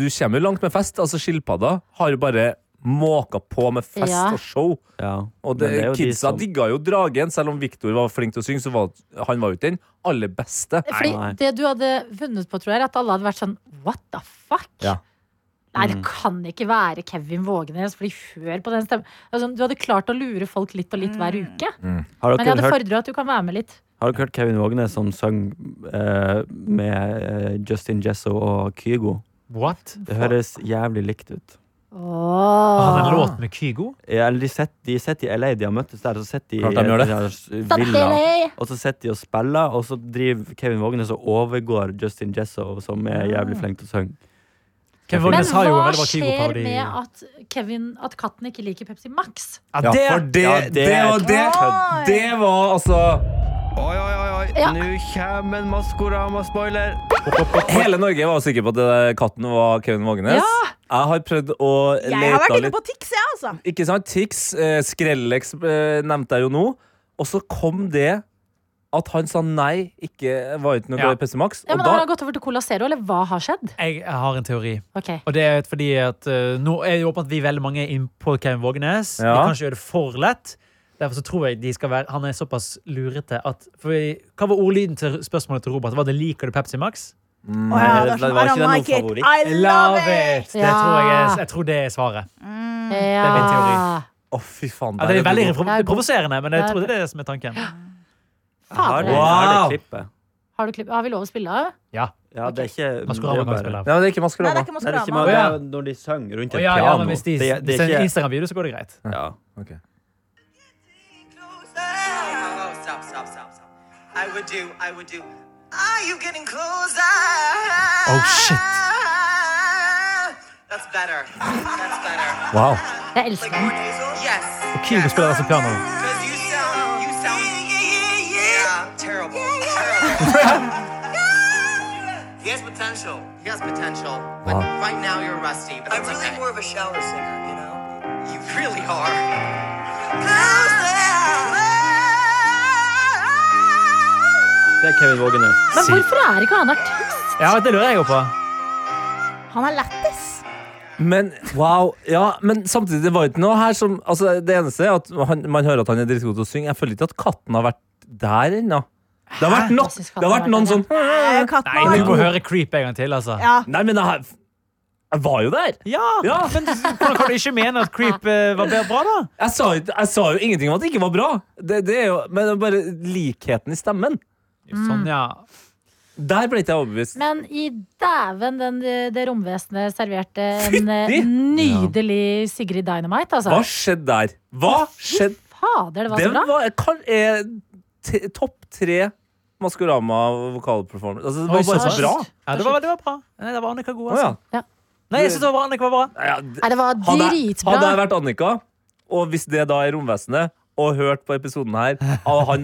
S5: Du kommer jo langt med fest. Altså, skilpadda har jo bare måka på med fest
S2: Ja.
S5: og show.
S3: Ja.
S5: Og
S3: men
S5: det,
S3: er jo de
S5: kidsa
S3: som-
S5: digga jo dragen, selv om Viktor var flink til å synge, så var han var jo ikke den aller beste.
S2: Fordi
S3: Nei.
S2: det du hadde vunnet på, tror jeg, er at alle hadde vært sånn What the fuck?
S5: Ja.
S2: Nei, det kan ikke være Kevin Vågenes, fordi hør på den stemmen. Altså, du hadde klart å lure folk litt og litt hver uke.
S3: Har
S2: Men jeg
S3: dere,
S2: hadde
S3: hørt,
S2: fordra at du kan være med litt.
S3: har dere hørt Kevin Vågenes som sang eh, med eh, Justin Jesso og Kygo?
S4: What?
S3: Det høres jævlig likt ut.
S4: Han
S2: Åh.
S4: hadde en låt med Kygo?
S3: Ja, Eller de sitter de sitter i LA, de har møttes der, så sitter de
S5: Klart de gjør det.
S3: i
S2: Stopp,
S3: en villa.
S2: LA.
S3: Og så sitter de og spiller, og så driver Kevin Vågenes og overgår Justin Jesso, som er jævlig flink til å synge.
S2: Ah.
S4: Kevin
S2: Men
S4: Vågenes har jo en
S2: hva
S4: veldig bra
S2: skjer
S4: Kygo-parodi.
S2: med at, Kevin, at katten ikke liker Pepsi Max?
S4: Ja,
S5: Ja,
S4: det
S5: for det,
S3: ja,
S5: det, var- det,
S7: Oi!
S5: det var altså
S3: Oi, oi, oi, oi.
S2: Ja.
S3: Nå kommer en Maskorama-spoiler!
S5: Hele Norge var sikker på at det der katten var Kevin Vågenes. Jeg har prøvd å
S7: Jeg har vært
S5: lete
S7: inne
S5: litt
S7: på Tix, jeg, altså.
S5: Ikke sant? Tix, eh, Skrellex eh, nevnte jeg jo nå. Og så kom det at han sa nei, ikke var ikke noe
S4: Ja.
S5: glad i PC Max.
S2: Ja,
S5: og
S2: men
S5: da,
S2: Har han gått over til Cola Zero, eller hva har skjedd?
S4: Jeg har en teori.
S2: Ok.
S4: Og det er fordi at eh, Nå er det jo åpent at vi veldig mange er inne på Kevin Vågenes. Vi
S5: Ja.
S4: kan ikke gjøre det for lett. Derfor så tror jeg de skal være, han er såpass lurete at for vi, Hva var ordlyden til spørsmålet til Robert? Var det 'liker du Pepsi Max'?
S7: Å, ja, det er
S3: det
S7: sånn,
S3: var
S7: I
S3: ikke
S7: don't
S3: den
S7: like
S3: noen
S7: it. I love it!
S4: Det tror jeg, er- jeg tror det er svaret.
S2: Ja.
S4: min teori.
S5: Å, fy faen.
S4: Ja,
S5: der
S4: det er
S5: du
S4: veldig
S5: god.
S4: repro-
S2: Det er god.
S4: provoserende, men jeg
S2: Det er-
S4: tror det er det som er tanken.
S3: Har
S2: Fader.
S3: det, har det klippet?
S2: Har, du klipp- har vi lov å spille av?
S4: Ja.
S3: Ja, det er ikke det
S4: Maskorama
S3: er
S4: kan
S3: jo bare-
S4: spille av.
S5: Nei, men det er ikke
S7: Nei,
S5: Maskorama.
S7: det er ikke
S3: Nei, det er ikke
S7: Maskorama.
S3: Maskorama.
S4: Å, ja.
S3: Det er Når de synger rundt
S4: Å,
S3: et
S4: ja,
S3: piano.
S4: ja, men hvis de
S3: det, er-
S4: hvis det er en
S3: ikke
S4: Instagram-video, så går det greit.
S3: ja.
S5: Ok.
S9: Oh, stop, stop, stop, stop. I would do, I would do. Are you getting closer?
S4: Oh, shit.
S9: That's better. That's better.
S5: Wow.
S2: Jeg elsker den.
S9: Yes.
S4: Og Kygo spiller altså piano.
S9: Because you sound, you sound. Yeah, terrible. Terrible. he has potential. He has potential. But
S5: Wow.
S9: right now you're rusty. But that's I'm really more of a shower singer, you know? You really are.
S3: Det er Kevin Vågenes.
S2: Men hvorfor er ikke han artist?
S4: Ja, det lurer jeg jo på.
S7: Han er lættis.
S5: Men wow, ja, men samtidig det var ikke noe her som altså, Det eneste er at han, man hører at han er dritgod til å synge. Jeg føler ikke at katten har vært der ennå. Det har vært, no,
S2: Jeg synes katten
S5: det har
S2: har
S5: vært
S2: vært
S5: noen
S2: der,
S5: sånn
S7: Eh, Katten
S4: Nei,
S7: har
S4: du
S7: vært
S4: må
S7: god.
S4: høre Creep en gang til, altså.
S7: Ja.
S5: Nei, men jeg, jeg var jo der!
S4: Ja, men hvordan kan du ikke mene at Creep eh, var bedre bra, da?
S5: Jeg sa, jo ikke- jeg sa jo ingenting om at det ikke var bra. Det, det er jo, men det er bare likheten i stemmen.
S4: Sånn, ja.
S5: Der ble ikke jeg overbevist.
S2: Men i dæven, den, det romvesenet serverte en
S5: Fytti!
S2: eh, nydelig Sigrid Dynamite,
S5: Hva
S2: altså.
S5: skjedde der? Hva skjedde?
S2: Fader, det var så
S5: Den
S2: bra.
S5: var kan- er t- topp tre Maskorama-vokalperformance. Altså, det var
S4: Oi,
S5: bare så
S2: sant.
S5: bra.
S4: ja det, var, det var bra. Nei, det var Annika god,
S5: Å, ja.
S4: altså. Nei, jeg synes det var Annika var bra.
S5: Nei, ja, det-
S2: Nei, det var
S5: Hadde jeg,
S2: dritbra.
S5: hadde jeg vært Annika, og hvis det da er romvesenet, og hørt på episoden her av han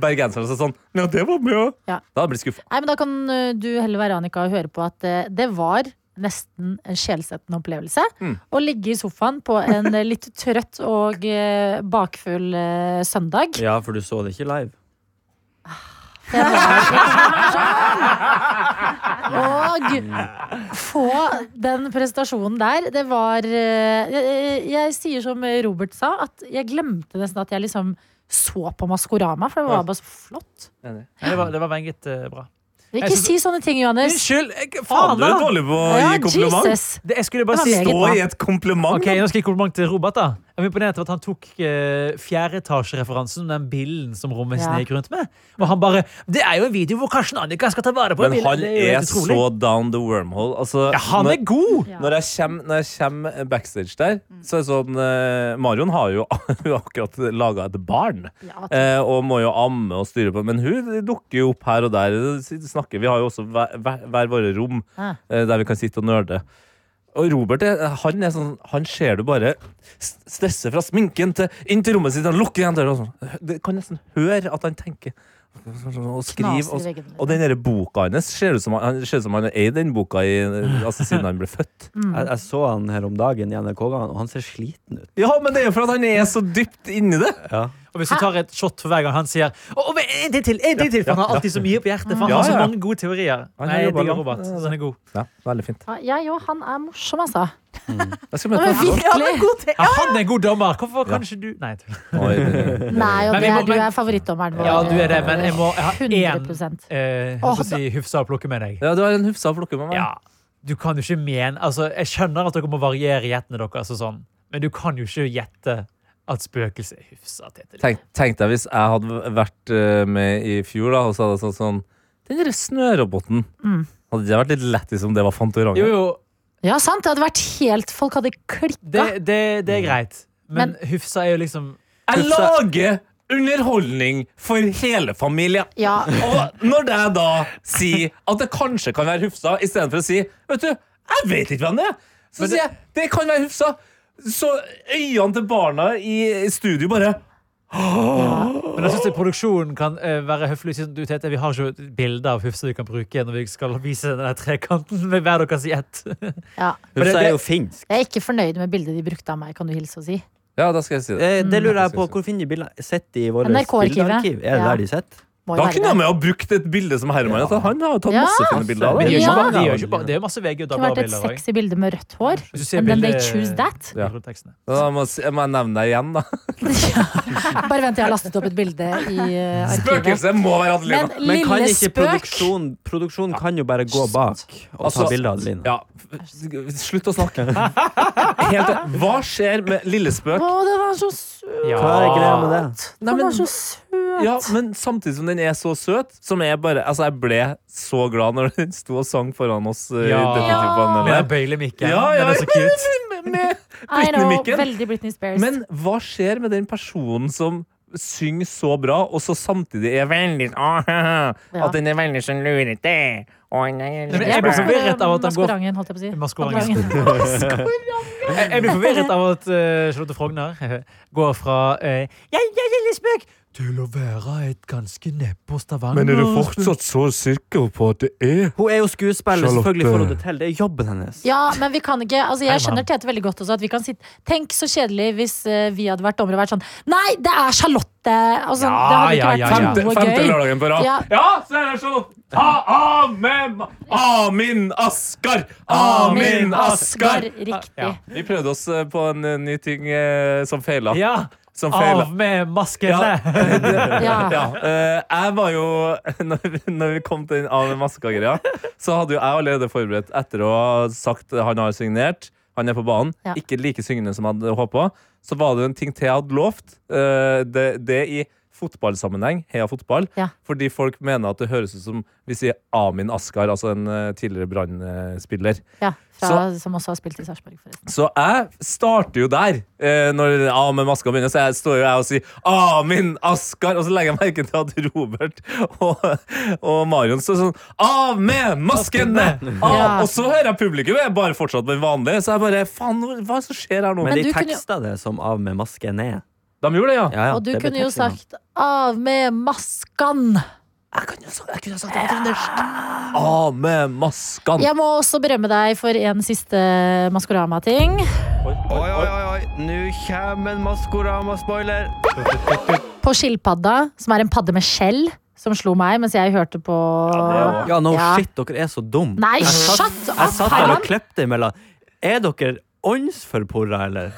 S5: bergenseren som sånn Ja, det var bra.
S2: Ja.
S5: Da hadde jeg blitt skuffa.
S2: Nei, men Da kan ø, du heller være Annika og høre på at ø, det var nesten en sjelsettende opplevelse.
S5: Mm.
S2: Å ligge i sofaen på en ø, litt trøtt og ø, bakfull ø, søndag.
S3: Ja, for du så det ikke live.
S2: Det var- Og få den presentasjonen der. Det var ø, jeg, jeg sier som Robert sa, at jeg glemte nesten at jeg liksom så på Maskorama, for det var bare så flott.
S4: Nei, det var, det var meget eh, bra.
S2: Ikke si sånne ting, Johannes.
S4: Unnskyld! Jeg, faen,
S5: Du er
S4: da!
S5: dårlig på å
S2: Ja,
S5: gi kompliment.
S2: Jesus.
S4: Det, jeg skulle bare
S2: Det var
S4: si
S2: meget
S5: Stå
S2: bra.
S5: i et kompliment.
S4: Ok, Nå skal jeg gi kompliment til Robert. da Jeg var imponert over at han tok eh, fjerdeetasjereferansen om den billen som
S2: Ja.
S4: romvesenet gikk rundt med. Og han bare Det er jo en video hvor Karsten Annika skal ta vare på en
S5: Men
S4: bil!
S5: han
S4: Det er jo
S5: er
S4: helt utrolig.
S5: så down the wormhole. Altså,
S4: Ja, Mm. han er god!
S2: Ja.
S5: Når jeg kommer, når jeg kommer backstage der, så er det sånn eh, Marion har jo hun har akkurat laga et barn.
S2: Ja,
S5: Eh, og må jo amme og styre på. Men hun dukker jo opp her og der. Snakker. Vi har jo også hver, hver, hver våre rom
S2: Ah.
S5: eh, der vi kan sitte og nerde. Og Robert er, han er sånn Han ser du bare s- stresse fra sminken til inn til rommet sitt. Han lukker igjen døra og sånn. Du kan nesten høre at han tenker. Og skriver.
S2: Knaser i
S5: Og,
S2: veggene.
S5: og den der boka hans ser ut som han, han ser ut som han har eid den boka i, altså, siden han ble født.
S3: Jeg, jeg så han her om dagen i NRK-gangen, og han ser sliten ut.
S5: Ja, men det er jo fordi han er så dypt inni det.
S4: Og hvis du tar et shot for hver gang han sier «Å, å, men En ting til! en ting til For han har alltid så mye på hjertet. For han
S5: Ja,
S4: har så
S5: ja.
S4: mange gode teorier.
S5: Han
S4: Nei,
S5: har
S4: jeg
S5: jobbet
S4: digger
S5: langt.
S4: Robert.
S5: Ja,
S4: Så han er god.
S5: Ja, veldig fint.
S4: Eh.
S2: Ja, jeg òg. Han er morsom, altså.
S5: Jeg skal møte
S2: Men
S5: ham etterpå.
S2: virkelig.
S7: Ja, han er god til
S4: Ja, han er en god dommer! Hvorfor kan ikke du Nei, jeg tuller.
S5: Oi, det-
S2: Nei, og
S4: Men
S2: det
S4: vi må-
S2: er, du
S4: men-
S2: er favorittdommeren vår.
S4: Ja, du er det, men jeg må jeg har én
S2: 100%.
S4: eh,
S2: Åh,
S4: oh, si, hufsa å plukke med deg.
S5: Ja, du har en hufsa å plukke med meg.
S4: Ja, du kan jo ikke mene altså, Jeg skjønner at dere må variere gjettene deres, og sånn, men du kan jo ikke gjette at spøkelset er hufsa. Tete.
S5: Tenk, tenk deg hvis jeg hadde vært eh, med i fjor, da, og så hadde jeg sånn, sånn Den derre snøroboten. Hadde det vært litt lættis om det var
S4: Jo,
S5: Fantorangen?
S4: jo,
S2: Ja, sant. Det hadde vært helt Folk hadde
S4: det,
S2: klikka.
S4: det, det er greit, men,
S2: Men-
S4: hufsa er jo liksom
S5: Jeg
S4: Hufsa-
S5: lager underholdning for hele familien.
S2: Ja.
S5: Og når jeg da sier at det kanskje kan være Hufsa, istedenfor å si Vet du, jeg vet ikke hvem det er, så
S4: Men det-
S5: sier jeg det kan være Hufsa. Så øynene til barna i studio bare
S4: Men jeg synes at produksjonen kan eh, være høflig. og si sånn, Du, Tete, vi har ikke et bilde av hufsa vi kan bruke når vi skal vise denne trekanten med hver deres gjett.
S2: ja.
S4: Men det-
S3: Hun er jo finsk.
S2: Jeg er ikke fornøyd med bildet de brukte av meg, kan du hilse og si.
S5: Ja, da skal jeg si det.
S3: Eh, Det lurer jeg på. Hvor finner de bildene? Sitter de i vårt
S2: NRK-arkivet.
S3: bildearkiv? Er det
S2: Ja.
S3: der de sitter?
S2: Må jo
S5: Da kunne
S2: være
S5: han
S2: det.
S5: med å ha brukt et bilde som Herman. altså, Han har jo tatt
S2: Ja.
S5: masse fine bilder. av
S4: Men
S5: det.
S4: det er jo
S2: Ja.
S4: ikke bare- det er jo ikke bare- det er jo masse VG
S2: Det
S4: og
S2: kunne vært et
S4: Dagbladet-bilder òg.
S2: sexy bilde med rødt hår.
S4: Hvis du ser
S2: And then they
S4: bildet-
S2: choose that.
S5: Ja.
S4: Rulletekstene.
S5: Da må, jeg si- jeg må nevne deg igjen, da.
S2: Bare vent til jeg har lastet opp et bilde i eh, arkivet.
S5: Spøkelset må
S4: liksom.
S5: være
S2: Men
S5: Adelina.
S3: Men kan
S2: lille
S3: ikke
S2: spøk!
S3: produksjonen Produksjonen kan jo bare gå bak og ta
S5: Altså,
S3: bilde av Adeline.
S5: Ja, f- slutt å snakke. Helt, hva skjer med Lillespøk?
S2: Å, det var så søt!
S4: Ja.
S3: Hva er greia med det?
S2: Den var så søt! søt!
S5: Ja, men samtidig som den er så søt, som jeg bare Altså, jeg ble så glad når den sto og sang foran oss eh, i
S4: Ja.
S5: Detektivpanelet.
S4: Jeg bøyler mikken.
S5: Ja, ja,
S4: Den er så cute.
S5: Med- med
S2: I know,
S5: Britney-mikken.
S2: veldig Britney Spears.
S5: Men hva skjer med den personen som synger så bra, og så samtidig er veldig ah,
S2: Ja.
S5: At den er veldig sånn lurete. Å, nei,
S4: men
S2: jeg
S4: jeg
S2: blir
S4: blir forvirret av at han går-
S2: Maskordangen, holdt jeg på å si.
S4: Maskordangen.
S2: Maskordangen.
S4: Jeg, jeg blir forvirret av at eh, Charlotte Frogner går fra eh, Jeg jeg er litt spøk til å være et ganske nedpå Stavanger.
S5: så sikker på at det er
S3: Hun er jo skuespiller,
S5: Charlotte.
S3: selvfølgelig får hun det til. Det er jobben hennes.
S2: Ja, men vi kan ikke altså
S4: Hei,
S2: Jeg
S4: mann.
S2: skjønner Tete veldig godt også. At vi kan sitte, tenk så kjedelig hvis eh, vi hadde vært dommere og vært sånn Nei, det er Charlotte! Altså,
S4: Ja,
S2: det hadde ikke
S4: ja,
S2: vært
S4: ja,
S2: så
S4: ja.
S5: Femte,
S2: noe
S5: femte
S2: gøy.
S5: lørdagen på rad.
S2: Ja.
S5: så er det sånn! Ha, amen, Amin Askar! Amin Askar!
S2: Riktig.
S4: Ja.
S5: Vi prøvde oss eh, på en eh, ny ting eh, som feila.
S4: Ja,
S5: Som feila.
S4: av med maskene!
S5: Ja,
S2: Ja.
S5: eh, jeg var jo Når, vi- når vi kom til den av maska-greia, så hadde jo jeg allerede forberedt etter å ha sagt han har signert, han er på banen,
S2: Ja.
S5: ikke like syngende som jeg hadde håpa, så var det en ting til jeg hadde lovt. eh, det, det i fotballsammenheng, heia fotball,
S2: Ja.
S5: fordi folk mener at det høres ut som vi sier Amin Askar, altså en eh, tidligere Brann-spiller.
S2: Ja, fra, som også har spilt i Sarpsborg, forresten.
S5: Så jeg starter jo der. Eh, når ja, med maska begynner, så jeg står jo jeg og sier 'Amin Askar', og så legger jeg merke til at Robert og, og Marion står sånn 'Av med maskene!' Av,
S2: Ja.
S5: Og så hører jeg publikum, jeg er bare fortsatt med vanlig. Så jeg bare Faen, hva hva er det som skjer her nå?
S3: Men,
S2: Men
S3: de
S2: du kunne jo-
S3: teksta det som 'av med masken ned'.
S5: de gjorde det, ja.
S3: Ja, ja,
S2: Og du
S3: det ble
S2: kunne jo
S3: tekstinga.
S2: sagt 'av med maskan'.
S5: Jeg kunne jo sagt- jeg kunne jo sagt det. jeg kunne det. Av med maskene!
S2: Jeg må også berømme deg for en siste Maskorama-ting.
S10: Oi, oi, oi, oi. Nå kommer en Maskorama-spoiler.
S2: På skilpadda, som er en padde med skjell, som slo meg mens jeg hørte på
S3: Ja, no
S2: Ja.
S3: shit, dere er så dum.
S2: Nei,
S3: jeg satt,
S2: shut up,
S3: jeg satt der
S2: Herman.
S3: og klepte imellom. Er dere åndsforporra, eller?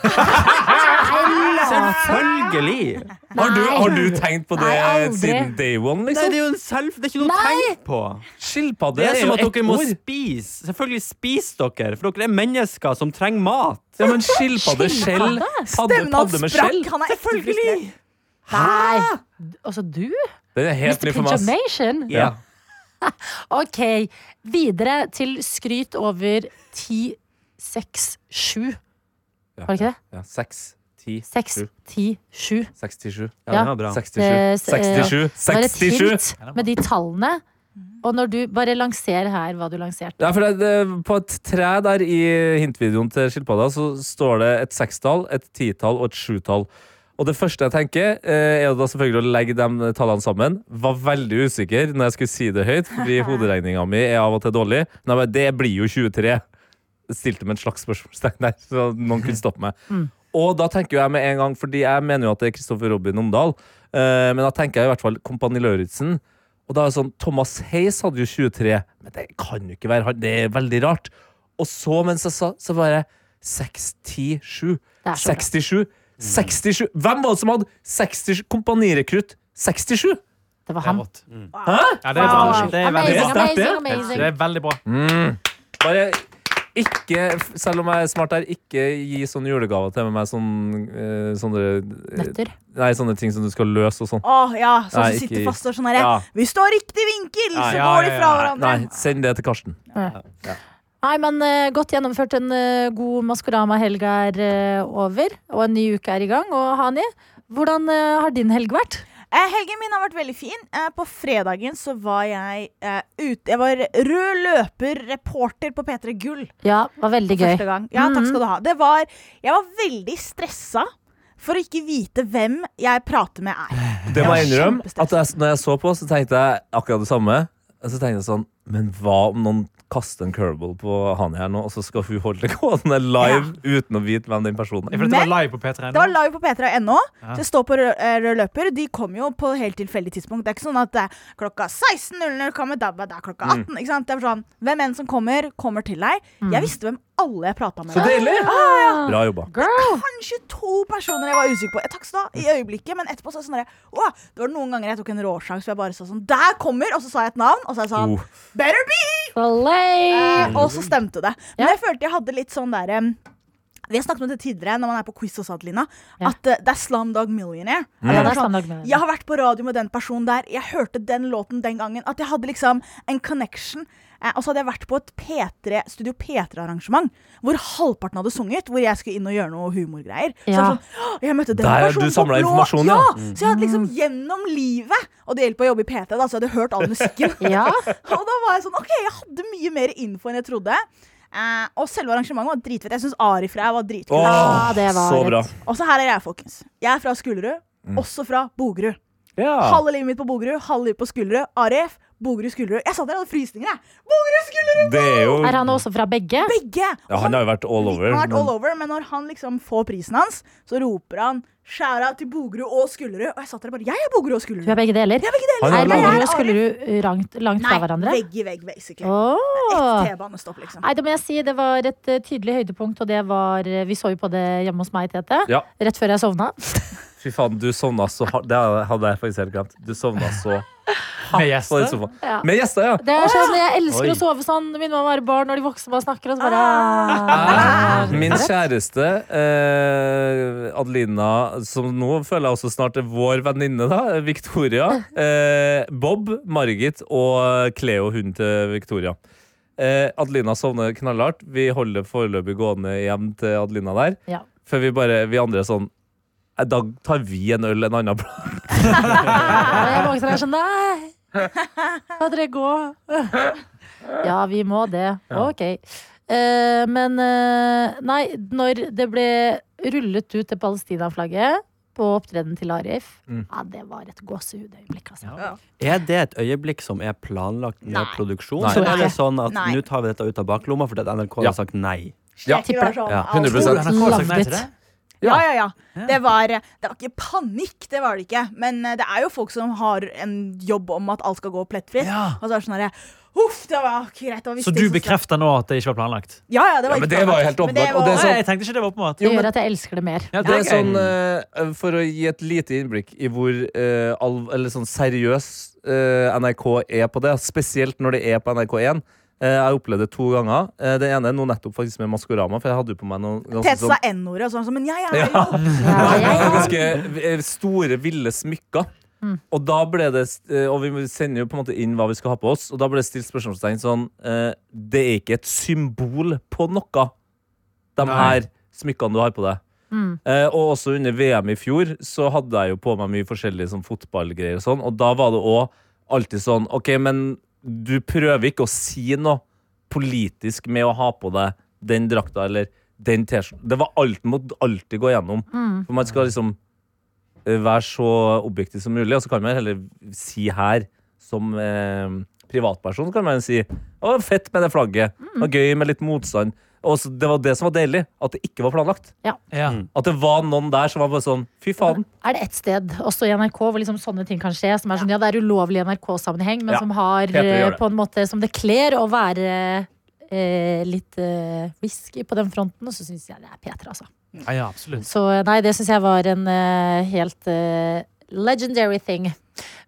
S3: Selvfølgelig!
S5: Har du, har du tenkt på det
S2: Nei, aldri.
S5: siden day one,
S3: Nei,
S5: liksom?
S3: det er jo en selv... Det er ikke noe å
S2: Nei.
S3: tenke på.
S5: Skilpadde
S3: Det er som
S5: jo
S3: at
S5: ett
S3: dere må
S5: ord.
S3: spise. Selvfølgelig spis dere, for dere er mennesker som trenger mat.
S5: Ja, men skilpadde, skjell, padde,
S7: Stemmen
S5: padde
S7: hans
S5: med skjell.
S7: sprakk. Han er ekte frustrert.
S2: Nei! Altså du?
S5: Den er helt
S2: Mr.
S5: ny for meg. ass.
S2: Pinjamation?
S5: Ja.
S2: Ok. Videre til skryt over 10, 6, 7.
S5: Ja.
S2: Var det ikke det?
S5: Ja, 6, 10,
S2: 6,
S5: Sju.
S2: 10, 7.
S5: 67.
S3: Ja,
S2: Ja.
S3: det var bra.
S5: 67.
S2: Det- eh,
S5: 67.
S2: Det var et
S5: 67.
S2: hint med de tallene. Og når du bare lanserer her hva du lanserte.
S5: Ja, for det, det, På et tre der i hintvideoen til skilpadda så står det et sekstall, et titall og et sjutall. Og det første jeg tenker, eh, er da selvfølgelig å legge de tallene sammen. Var veldig usikker når jeg skulle si det høyt, fordi hoderegninga mi er av og til dårlig. Men jeg bare, det blir jo 23. Stilte med et slags spørsmålstegn der, så noen kunne stoppe meg.
S2: Mm.
S5: Og da tenker jo jeg med en gang, fordi jeg mener jo at det er Kristoffer Robin Omdal, eh, men da tenker jeg i hvert fall Kompani Lauritzen. Og da er det sånn, Thomas Hayes hadde jo 23, men det kan jo ikke være han. Det er veldig rart. Og så, mens jeg sa, så bare 67.
S2: Det er så bra.
S5: 67. 67. Hvem var det som hadde 67? Kompanirekrutt 67?
S2: Det var
S4: Det er
S2: ham.
S4: rått. Ja, det er bra.
S2: Wow.
S4: Det er veldig
S2: Amazing,
S4: bra.
S5: sterkt, det.
S2: amazing, amazing.
S4: Det er veldig bra.
S5: Bare ikke, selv om jeg er smart der, ikke gi sånne julegaver til meg. Sånne, eh, sånne, eh,
S2: Nøtter.
S5: nei, sånne ting som du skal løse og sånn.
S7: Åh, ja, sånn
S5: Nei,
S7: som sitter
S5: ikke-
S7: fast og sånn herre.
S5: Ja.
S7: Vi står i riktig vinkel,
S5: Ja,
S7: så
S4: ja,
S7: går de
S4: ja,
S7: fra
S4: ja.
S7: hverandre.
S5: Nei, send det til Karsten.
S2: Nei, men eh, godt gjennomført. En eh, god Maskorama-helg er eh, over, og en ny uke er i gang. Og Hani, hvordan eh, har din helg vært?
S7: Eh, helgen min har vært veldig fin. Eh, på fredagen så var jeg eh, ute Jeg var rød løper, reporter på P3 Gull.
S2: Ja, var veldig gøy.
S7: Første gang. Ja, takk skal du ha. Det var, jeg var veldig stressa for å ikke vite hvem jeg prater med er.
S5: Det må jeg
S7: Ja,
S5: innrømme
S7: kjempestress.
S5: at jeg, når jeg så på, så tenkte jeg akkurat det samme. Og så tenkte jeg sånn Men hva om noen kaster en curveball på han her nå, og så skal hun holde gående live uten å vite hvem den personen
S4: Det
S5: er?
S4: er fordi det var
S7: Men-
S4: live på P3
S7: Det
S4: nå.
S7: var live på p3.no. Ja. Det står på rød rød løper. De kom jo på helt tilfeldig tidspunkt. Det er ikke sånn at det er klokka 16.00 kommer dabba, det er klokka 18. Ikke sant? Det er sånn, Hvem enn som kommer, kommer til deg. Jeg visste hvem alle jeg prata med.
S5: Så deilig! Bra jobba.
S2: Girl!
S7: Kanskje to personer jeg var usikker på. Jeg takk skal du ha, i øyeblikket, men etterpå så er det sånn der, Åh, Det var noen ganger jeg tok en råsjanse hvor jeg bare sa sånn Der kommer! Og så sa jeg et navn, og så sa jeg sånn
S5: Oh.
S7: Better be!
S2: Slay!
S7: Eh, og så stemte det. Men
S2: Ja.
S7: jeg følte jeg hadde litt sånn der em, Vi har snakket om det tidligere når man er på quiz og sånt, Lina.
S2: Ja.
S7: At eh, det er Slumdog Millionaire. At
S2: Ja,
S7: det
S2: det
S7: er
S2: er
S7: sånn,
S2: standard med
S7: jeg har vært på radio med den personen der. Jeg hørte den låten den gangen. At jeg hadde liksom en connection. Eh, og så hadde jeg vært på et P3, Studio P3-arrangement hvor halvparten hadde sunget. Hvor jeg skulle inn og gjøre noe humorgreier. Så jeg
S2: Ja.
S7: var sånn, «Å, jeg møtte den
S5: Der er
S7: personen
S5: du samlet
S7: på blå-
S5: informasjon,
S7: ja.
S5: ja. Mm.
S7: Så jeg hadde liksom gjennom livet Og det hjelper å jobbe i PT, da, så jeg hadde hørt all musikken.
S2: Ja.
S7: Og da var jeg sånn, ok, jeg hadde mye mer info enn jeg trodde. Eh, og selve arrangementet var dritfett. Jeg syns Arif her var
S5: Åh,
S7: dritkul.
S2: Ja, det var
S5: så
S2: et-
S5: bra.
S7: Og så her er jeg, folkens. Jeg er fra Skulerud.
S5: Mm.
S7: Også fra Bogerud.
S5: Ja.
S7: Halve livet mitt på Bogerud, halve livet på Skulerud. Arif, Bogerud, Skulerud. Jeg satt der og hadde frysninger, jeg. Bogerud, Skulerud!
S5: Det er jo
S2: Er han også fra begge?
S7: Begge!
S5: ja, Han har jo vært all over.
S7: Han har vært all
S5: men-
S7: over, men når han liksom får prisen hans, så roper han skjæra til Bogerud og Skullerud. Og jeg satt der og bare Jeg er
S2: Du
S7: Bogerud og
S2: er
S7: Skullerud.
S2: begge deler?
S7: Jeg er begge deler.
S5: Han
S2: Er
S5: er
S7: Jeg
S5: laget-
S2: Bogerud
S7: Arif.
S2: og Skullerud langt, langt fra hverandre?
S7: Nei, vegg i vegg, basically.
S2: Åh.
S7: Ett T-banestopp, liksom.
S2: Nei, det må jeg si, det var et eh, tydelig høydepunkt, og det var eh, Vi så jo på det hjemme hos meg, Tete.
S5: Ja.
S2: Rett før jeg sovna.
S5: Fy faen, du sovna så hardt. Det hadde jeg faktisk helt glemt. Du sovna så
S4: Med
S5: på den
S4: gjester.
S5: sofaen.
S2: Ja.
S5: Med gjester, ja.
S2: Det er sånn, Jeg elsker
S5: Oi.
S2: å sove sånn. Min mamma var barn når de voksne bare snakker. Og så bare,
S5: Ah, Min kjæreste eh, Adelina, som nå føler jeg også snart er vår venninne, da, Victoria. Eh, Bob, Margit og Cleo, hunden til Victoria. Eh, Adelina sovner knallhardt. Vi holder foreløpig gående hjem til Adelina der.
S2: Ja.
S5: Før vi bare, vi andre er sånn eh, Da tar vi en øl en annen plass.
S2: Og jeg våkner og er sånn Nei! La dere gå. Ja, vi må det. Ok. Eh, men eh, nei, når det ble rullet ut det Palestina-flagget på opptredenen til Arif,
S5: Mm.
S2: ja, det var et gåsehudøyeblikk, altså.
S4: Ja. Er det et øyeblikk som er planlagt med
S2: Nei.
S4: produksjon?
S5: Nei.
S4: Så er det sånn at
S7: Nei.
S4: nå tar vi dette ut av baklomma fordi at NRK
S5: Ja.
S4: har sagt nei?
S5: Ja.
S7: Jeg tipper det er sånn,
S5: Ja,
S7: alt-
S5: 100%.
S4: Tror du NRK har sagt nei til det?
S7: Ja, ja, ja. Det var, det var ikke panikk, det var det ikke. Men eh, det er jo folk som har en jobb om at alt skal gå plettfritt.
S4: Ja.
S7: Og så er det sånn herre Uff, det var ok, greit. Det var visst
S4: Så
S7: det
S4: du
S7: som skal-
S4: bekrefter nå at det ikke var planlagt?
S7: Ja, ja, det var
S5: Ja, men
S7: ikke
S5: det var jo
S7: planlagt.
S5: helt
S7: Men det
S5: åpenbart, og
S7: var-
S5: det er sånn-
S4: Nei, jeg tenkte ikke det var oppmått.
S2: Det gjør at jeg elsker det mer.
S4: Ja,
S5: Det er
S4: gøy.
S5: sånn, eh, For å gi et lite innblikk i hvor eh, alv, eller sånn seriøs eh, NRK er på det, spesielt når det er på NRK1. Eh, jeg har opplevd det to ganger. Eh, det ene er nå nettopp faktisk med Maskorama. For jeg hadde jo på meg noen ganske,
S7: Tete sa
S5: sånn,
S7: N-ordet og sånn, sånn, men jeg er
S5: Ja.
S7: jo
S2: Ja, jeg,
S5: ganske eh, store, ville smykker.
S2: Mm.
S5: Og da ble det st- eh, Og vi sender jo på en måte inn hva vi skal ha på oss, og da ble det stilt spørsmålstegn sånn eh, Det er ikke et symbol på noe, de
S4: Nei.
S5: her smykkene du har på deg.
S2: Mm.
S5: Eh, og også under VM i fjor så hadde jeg jo på meg mye forskjellige sånn, fotballgreier og sånn, og da var det òg alltid sånn OK, men du prøver ikke å si noe politisk med å ha på deg den drakta eller den T-skjorta. Det var alt, må alltid gå gjennom.
S2: Mm.
S5: For man skal liksom eh, være så objektiv som mulig, og så kan man heller si her som eh, privatperson så kan man si å, fett med det flagget.
S7: Mm.
S5: Det var gøy med litt motstand. Og så, det var det som var deilig, at det ikke var planlagt.
S7: eh,
S4: Ja.
S5: At det var noen der som var bare sånn Fy faen.
S2: er det ett sted, også i NRK, hvor liksom sånne ting kan skje? Som er sånn, ja, det er ulovlig i NRK-sammenheng, men
S5: Ja.
S2: som har
S5: Peter gjør
S2: eh,
S5: det.
S2: på en måte Som det kler å være eh, litt eh, whisky på den fronten. Og så syns jeg det er Peter, altså.
S4: Ja, ja, absolutt.
S2: Så eh, nei, det syns jeg var en eh, helt eh, legendary thing.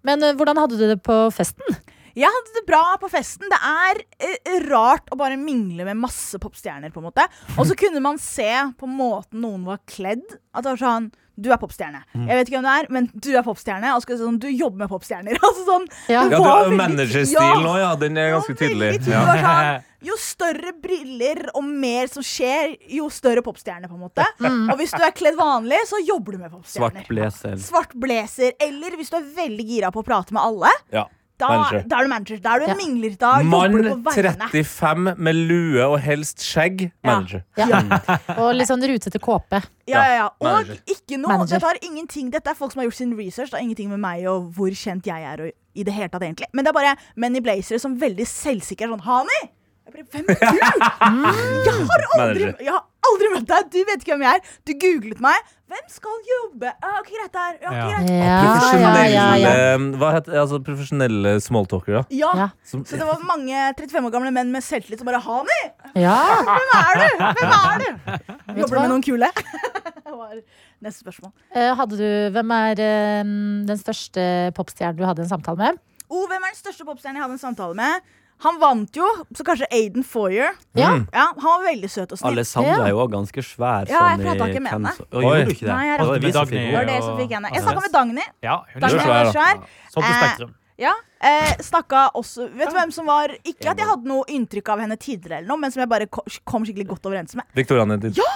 S2: Men eh, hvordan hadde du det på festen?
S7: Jeg hadde det bra på festen. Det er eh, rart å bare mingle med masse popstjerner. på en måte Og så kunne man se på måten noen var kledd. At det var sånn Du er popstjerne.
S5: Mm.
S7: Jeg vet ikke hvem du er, men du er popstjerne. Og så skal det sånn, du jobber med popstjerner. altså sånn
S5: Ja,
S2: Ja.
S5: du
S7: var
S5: har jo
S7: veldig-
S5: managerstilen nå, ja. Den er
S7: Ja,
S5: ganske tydelig. Ja.
S7: veldig Det var sånn, jo større briller og mer som skjer, jo større popstjerne. på en måte Og hvis du er kledd vanlig, så jobber du med
S3: Svart
S7: popstjerner.
S3: blazer.
S7: Svart blazer. Eller hvis du er veldig gira på å prate med alle,
S5: Ja.
S7: da,
S5: Manager.
S7: da er du manager. Da er du en
S2: Ja.
S7: mingler. Da
S5: Mann
S7: jobber du på vegne.
S5: 35 med lue og helst skjegg. Manager.
S2: Ja. Og litt sånn rutete kåpe.
S7: Ja, ja, ja. Og
S5: Manager.
S7: ikke noe
S2: Manager.
S7: Dette har ingenting Dette er folk som har gjort sin research. Det har ingenting med meg og hvor kjent jeg er. Og, i det hele tatt egentlig Men det er bare menn i blazere som veldig selvsikre er sånn Hani! Jeg bare, Hvem er du? Jeg har aldri,
S5: Manager.
S7: jeg har aldri møtt deg! Du vet ikke hvem jeg er. Du googlet meg. Hvem skal jobbe? Ja, ok, greit, det er Ah, ja, ok,
S4: Ja.
S2: Ja,
S7: greit.
S2: ja,
S5: Profesjonelle, liksom,
S2: ja, ja.
S5: Hva heter, altså, profesjonelle smalltalkere.
S7: Ja.
S2: Ja.
S5: Som-
S7: Så det var mange 35 år gamle menn med selvtillit som bare Hani!
S2: ja.
S7: Hvem er du? Hvem er du?
S2: Vet du
S7: Jobber du
S2: hva?
S7: med noen kule? Det var Neste spørsmål.
S2: Eh, Hadde du, hvem er eh, den største popstjernen du hadde en samtale med?
S7: Oh, hvem er den største popstjernen jeg hadde en samtale med? Han vant jo, så kanskje Aiden Foyer.
S2: Ja.
S7: Ja, han var veldig søt og snill.
S3: Alessandra er jo også ganske svær.
S7: Ja, jeg
S3: sånn
S7: prata
S3: i
S7: ikke med henne.
S3: Kens- Å, gjorde du ikke det?
S7: Nei, jeg
S3: Å, det er vi som
S4: Dagny.
S3: fikk
S7: Det
S3: henne.
S7: var det som fikk henne. Jeg
S4: Ja.
S7: snakka med Dagny.
S4: Ja, hun
S7: Dagny
S5: svær,
S7: var
S5: da.
S7: svær.
S4: Sånn på
S7: Eh,
S4: Spektrum.
S7: Ja, eh, snakka også Vet du hvem som var Ikke at jeg hadde noe inntrykk av henne tidligere, eller noe, men som jeg bare ko- kom skikkelig godt overens med.
S5: Victoria Nedin. Jeg,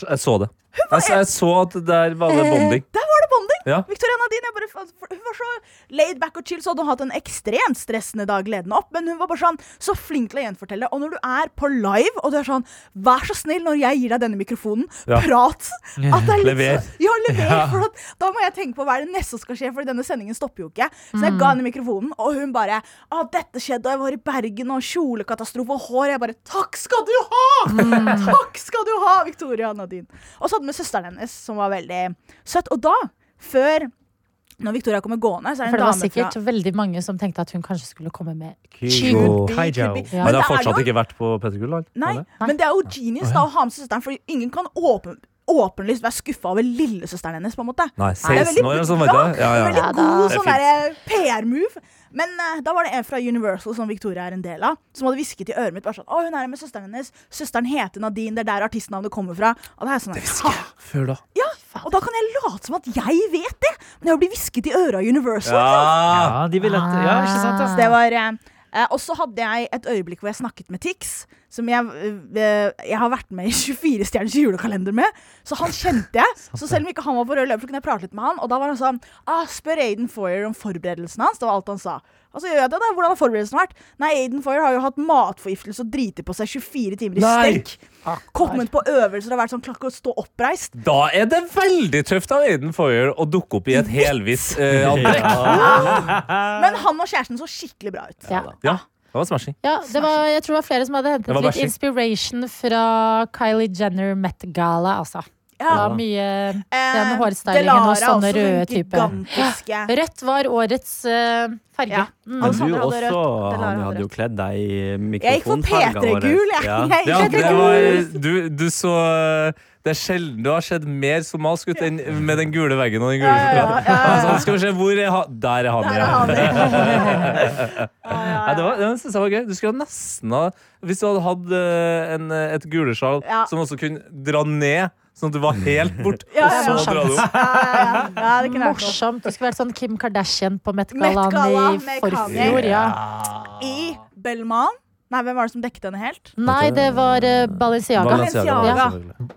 S5: så- jeg så det. Jeg, så- jeg så at der var det bonding.
S7: Der var Eh, det bonding!
S5: Ja.
S7: Victoria Nadine jeg bare, fa- Hun var så laid back og chill, så hadde hun hatt en ekstremt stressende dag ledende opp, men hun var bare sånn så flink til å gjenfortelle. Og når du er på live, og du er sånn Vær så snill, når jeg gir deg denne mikrofonen,
S5: Ja.
S7: prat! At det er litt,
S5: Lever.
S7: så- Ja, lever. For at, da må jeg tenke på hva er det neste som skal skje, Fordi denne sendingen stopper jo ikke. Så jeg ga henne mikrofonen, og hun bare Å, dette skjedde, og jeg var i Bergen, og kjolekatastrofe og hår. Jeg bare Takk skal du ha! Takk skal du ha, Victoria Nadine. Og så hadde vi søsteren hennes, som var veldig søt. Og da, før når Victoria kommer gående, så er
S2: For
S7: det en
S2: det var
S7: dame fra
S2: sikkert veldig mange som tenkte at hun kanskje skulle komme med
S3: Kygo.
S7: Kygo.
S4: Kaijo.
S7: Men
S5: Men jeg har
S7: det er
S5: fortsatt
S7: jo-
S5: ikke vært på Petter Gullland.
S7: Nei,
S5: Har det?
S7: men det er jo genius da å ha med søsteren, Fordi ingen kan åpen, åpenlyst være skuffa over lillesøsteren hennes. på en måte
S5: Nei,
S7: Det er
S5: 16 år eller
S7: veldig
S5: sånn,
S7: bra.
S5: var det? Ja, ja.
S7: Veldig
S2: Ja, da.
S7: god
S5: Det er
S7: sånn der, eh, PR-move. Men eh, da var det en fra Universal som Victoria er en del av, som hadde hvisket i øret mitt bare sånn Å, hun er her med søsteren hennes. Søsteren heter Nadine. Det er der artistnavnet kommer fra. Og det er sånn «Ha!»
S4: Før da.
S7: Og da kan jeg late som at jeg vet det, men jeg blir hvisket i øret av Universal.
S5: Ja.
S7: ah.
S4: Ja, de vil at Ja, ikke sant? da?
S7: Så det var eh, eh, Og så hadde jeg et øyeblikk hvor jeg snakket med Tix, som jeg, eh, jeg har vært med i 24 stjerners julekalender med. Så han kjente jeg. Så selv om ikke han var på rød løper, så kunne jeg prate litt med han. Og da var han sånn ah, Spør Aiden Foyer om forberedelsen hans. Det var alt han sa. Og så gjør jeg det, da. Hvordan har forberedelsen vært? Nei, Aiden Foyer har jo hatt matforgiftelse og driti på seg 24 timer i
S5: Nei!
S7: strekk. Kommet på øvelser og vært sånn klakk å stå oppreist.
S5: Da er det veldig tøft av Aiden Foyer å dukke opp i et helhvitt eh, antrekk.
S7: Men han og kjæresten så skikkelig bra ut.
S2: Ja.
S5: Ja, det var smashing.
S2: Ja, det var, jeg tror det var flere som hadde
S5: Det
S2: hentet
S5: var
S2: litt
S5: bæsjing.
S2: inspiration fra Kylie Jenner Met Gala, altså. Det
S7: Ja.
S2: var mye
S7: Eh,
S2: den hårstylingen
S7: Delara
S2: og sånne
S7: også,
S2: røde
S7: hun
S2: typer.
S7: Gigantiske.
S2: Rødt var årets eh, farge.
S7: Ja.
S2: Mm.
S3: Men
S7: Alexander
S3: du
S7: hadde
S3: også
S7: rødt, Delara
S3: Hanne,
S7: hadde
S3: hadde jo
S7: rødt.
S3: kledd deg i
S7: Jeg gikk for
S3: mikrofonfarga
S7: P3-gul, jeg. jeg.
S5: Ja,
S7: gikk for
S5: det
S7: P3
S5: var,
S7: gul.
S5: du, du så eh, Det er sjelden du har sett mer somalisk ut enn med den gule veggen og den gule
S7: Ja, ja, ja,
S5: sjokoladen.
S7: ja, ja.
S5: Altså, skal vi se, hvor er han? Der er han,
S7: Der er
S5: ja.
S7: han, ja.
S5: Nei, det var, det synes jeg var gøy. Du skulle nesten ha Hvis du hadde hatt eh, en, eh, et gulesjal
S7: Ja.
S5: som også kunne dra ned, sånn at du var helt bort,
S7: Ja, ja,
S5: og så dra det opp.
S7: Ja, ja, ja. ja, det kunne jeg hørt om.
S2: Morsomt. Det skulle vært sånn Kim Kardashian på Met
S7: Met
S2: Galaen
S7: Gala
S2: i
S7: med
S2: forfjor. Ja.
S4: Ah.
S7: I Bellman Nei, hvem var det som dekket henne helt?
S2: Nei, det var eh, Balenciaga.
S7: Ja.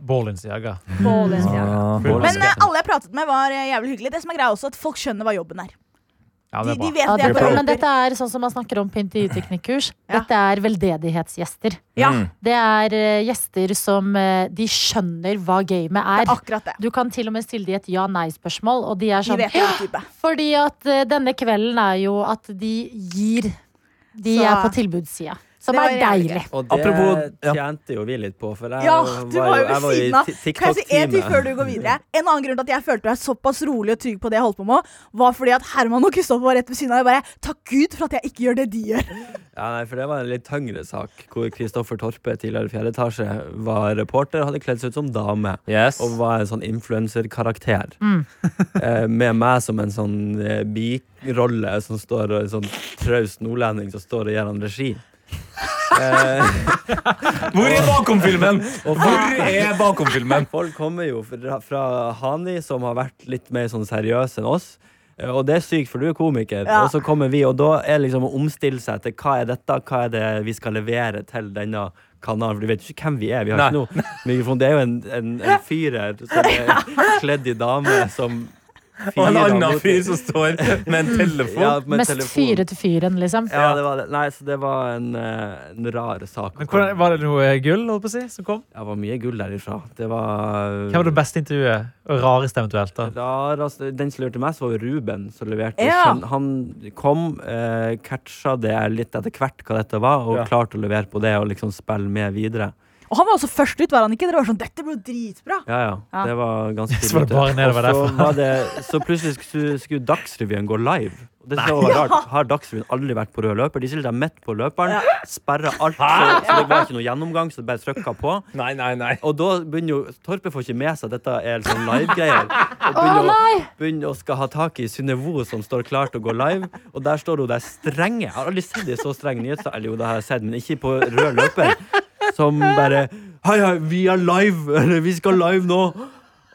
S4: Balenciaga.
S7: Balenciaga.
S3: Men,
S7: Men eh, alle jeg pratet med, var eh, jævlig hyggelige. Det som er greia også, at folk skjønner hva jobben er.
S4: Ja,
S7: De,
S4: det er
S7: de
S4: bra.
S7: vet
S2: Ja,
S7: det
S2: det,
S7: er på
S2: men
S7: jobber.
S2: dette er sånn som man snakker om på intervjuteknikkurs.
S7: Ja.
S2: Dette er veldedighetsgjester.
S7: Ja,
S3: Mm.
S2: Det er eh, gjester som eh, De skjønner hva gamet
S7: det
S2: er.
S7: er akkurat det.
S2: Du kan til og med stille de et ja-nei-spørsmål, og de er
S7: De
S2: sånn
S7: vet det er type.
S2: Fordi at eh, denne kvelden er jo at de gir de
S7: Så-
S2: er på tilbudssida. Som
S7: Det var
S2: er
S7: jævlig
S2: deilig.
S3: og det
S5: Apropos- ja.
S3: tjente jo vi litt på, for jeg
S7: Ja,
S3: var,
S7: du var jo
S3: jeg
S7: ved
S3: var i
S7: siden av.
S3: ti-
S7: Kan jeg si en ting før
S3: TikTok-teamet.
S7: du går videre? En annen grunn til at jeg følte meg såpass rolig og trygg på det jeg holdt på med, var fordi at Herman og Kristoffer var rett ved siden av. Jeg bare Takk Gud for at jeg ikke gjør det de gjør.
S3: Ja, nei, for det var en litt tyngre sak, hvor Kristoffer Torpe, tidligere fjerde etasje, var reporter, hadde kledd seg ut som dame.
S5: Yes.
S3: Og var en sånn influenserkarakter.
S2: Mm.
S3: eh, med meg som en sånn eh, birolle som står og en sånn traust nordlending som står og gir han regi. Eh,
S5: Hvor er bakomfilmen?
S3: og
S5: Hvor er bakomfilmen?
S3: Folk kommer jo fra, fra Hani, som har vært litt mer sånn seriøs enn oss. Eh, Og det er sykt, for du er komiker.
S7: Ja.
S3: Og så kommer vi, og da er liksom å omstille seg til hva er dette, hva er det vi skal levere til denne kanalen. For du vet jo ikke hvem vi er. Vi har
S5: Nei.
S3: ikke noe mikrofon. Det er jo en, en, en fyr her som er kledd i dame, som
S5: Og en
S3: fyrer
S5: annen
S3: mot-
S5: fyr som står med en
S3: ja,
S5: telefon.
S3: med
S2: Mest
S3: telefon.
S2: fyrete fyren, liksom.
S3: Ja, det var det. Nei, så det var en, eh, en rar sak.
S4: Men hvordan, var det noe eh, gull holdt på å si, som kom?
S3: Det var mye gull derifra. Det var
S4: Hvem var det beste intervjuet? Og rareste eventuelt? da?
S3: Rareste, den som lurte mest, var jo Ruben, som leverte.
S7: Ja.
S3: skjønn. Han kom, eh, catcha det litt etter hvert hva dette var, og
S5: Ja.
S3: klarte å levere på det og liksom spille med videre.
S7: Og han var også først ut, var han ikke? Dere var sånn 'Dette blir jo dritbra'.
S3: Ja, ja.
S7: Ja.
S3: Det var ganske
S4: Så var det
S3: tidlig ute.
S4: bare nedover
S3: Og så,
S4: derfra.
S3: var det, så plutselig skulle, skulle Dagsrevyen gå live. Og Det synes jeg var rart. Har Dagsrevyen aldri vært på rød løper? De stilte seg midt på løperen, sperra alt, så, så det var ikke noe gjennomgang, så det bare trykka på.
S5: Nei, nei, nei.
S3: Og da begynner jo Torpe får ikke med seg at dette er sånn live-greier.
S2: Å
S3: Og begynner, å-
S2: nei!
S3: begynner å skal ha tak i Synnøve, som står klar til å gå live. Og der står hun der strenge. Jeg har aldri sett en så streng nyhetssak. Eller jo, det har jeg sett, men ikke på rød løper. Som bare Hei, hei, vi er live! Eller vi skal live nå!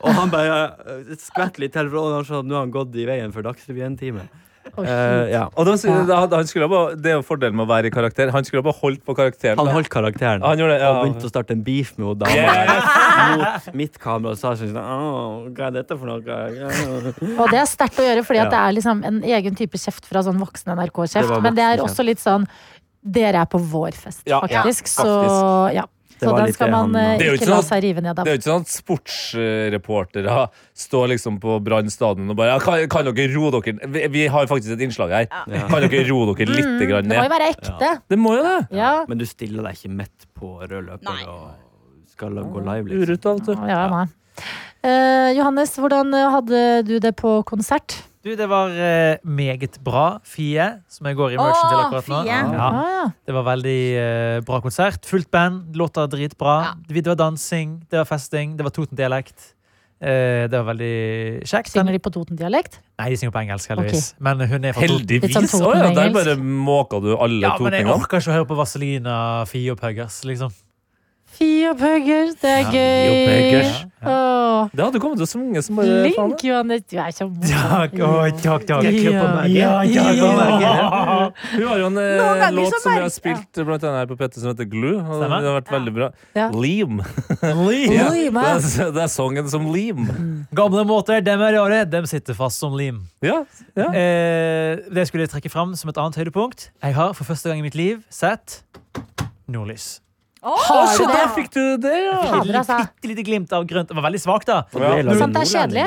S3: Og han bare eh, skvetter litt til, for han sa at nå har han gått i veien for Dagsrevyen-time.
S2: Å,
S3: Eh, ja.
S5: Og de, han, han skulle ha bare, det er jo fordelen med å være i karakter. Han skulle ha bare holdt på karakteren.
S3: Han holdt karakteren.
S5: Han gjorde det, ja.
S3: Og begynte å starte en beef med hun dama der, mot mitt kamera. Og sa sånn «Åh, Hva er dette for noe?
S2: Og det er sterkt å gjøre, fordi at
S3: Ja.
S2: det er liksom en egen type kjeft fra sånn voksen
S3: Det
S2: NRK-kjeft.
S3: var
S2: Men det er
S3: voksen
S2: også litt sånn dere er på vår fest,
S5: Ja, ja,
S2: faktisk. Så
S5: faktisk.
S2: ja.
S3: Det
S2: Så
S3: var
S2: den
S3: litt
S2: skal
S3: det
S2: man
S3: han-
S2: eh,
S5: Det er jo
S2: ikke
S5: ikke
S2: la
S5: sånn-
S2: seg rive ned av.
S5: Det er jo ikke sånn at sportsreportere står liksom på Brann stadion og bare ja, kan, kan dere roe dere ned?» vi, vi har faktisk et innslag her. Kan dere roe dere litt grann
S2: Det må jo
S5: ned?
S2: være ekte.
S5: Det må jo det.
S2: Ja.
S3: Men du stiller deg ikke midt på rød løper og skal gå live, liksom.
S5: Urut, da, vet du.
S2: Ja, nei. Eh, Johannes, hvordan eh, hadde du det på konsert?
S4: Du, det var eh, meget bra. Fie, som jeg går i merchen til
S7: Åh,
S4: akkurat nå.
S7: Fie.
S4: Ja.
S2: Ah, ja.
S4: Det var veldig eh, bra konsert. Fullt band, låta dritbra. Det var dansing, det var festing, det var Toten-dialekt. Eh, det var veldig kjekt.
S2: Synger de på Toten-dialekt?
S4: Nei, de synger på engelsk, heldigvis. Men hun er fra Toten.
S2: Litt sånn
S5: Heldigvis. Å ja, der
S2: Toten-engelsk.
S5: bare måka du alle
S4: Ja, men jeg
S5: totningene.
S4: orker ikke å høre på Vaselina, Fie og Puggers, liksom.
S2: Fie og Puggers, det er
S4: Ja,
S2: gøy!
S5: Puggers.
S2: Åh,
S5: Det hadde kommet til å synge som bare faen.
S2: Flink, Johannes! Du er så
S4: Takk, å, takk, takk.
S2: Jeg klør på magen.
S4: Ja, ja, ja, ja,
S5: Hun har jo en
S7: Noen
S5: eh,
S7: ganger
S5: låt
S7: så
S5: som vi har
S7: merker-
S5: spilt eh, blant annet her på Petter som heter Glue. Og
S4: Stemmer.
S5: det har vært veldig bra.
S2: Ja.
S5: Leam.
S4: Lim.
S2: Leam,
S5: det,
S2: ja.
S5: er, det er sangen som Leam.
S2: Mm.
S4: Gamle måter, dem er rare. Dem sitter fast som lim.
S5: Ja, ja.
S4: Eh, det skulle jeg trekke fram som et annet høydepunkt. Jeg har for første gang i mitt liv sett nordlys.
S2: Har du det?
S5: Der fikk du det, ja!
S2: Fader, altså.
S4: Bitte lite glimt av grønt. Det var veldig svakt, da.
S3: liksom
S5: Ja.
S2: Sant Sånn, det er kjedelig?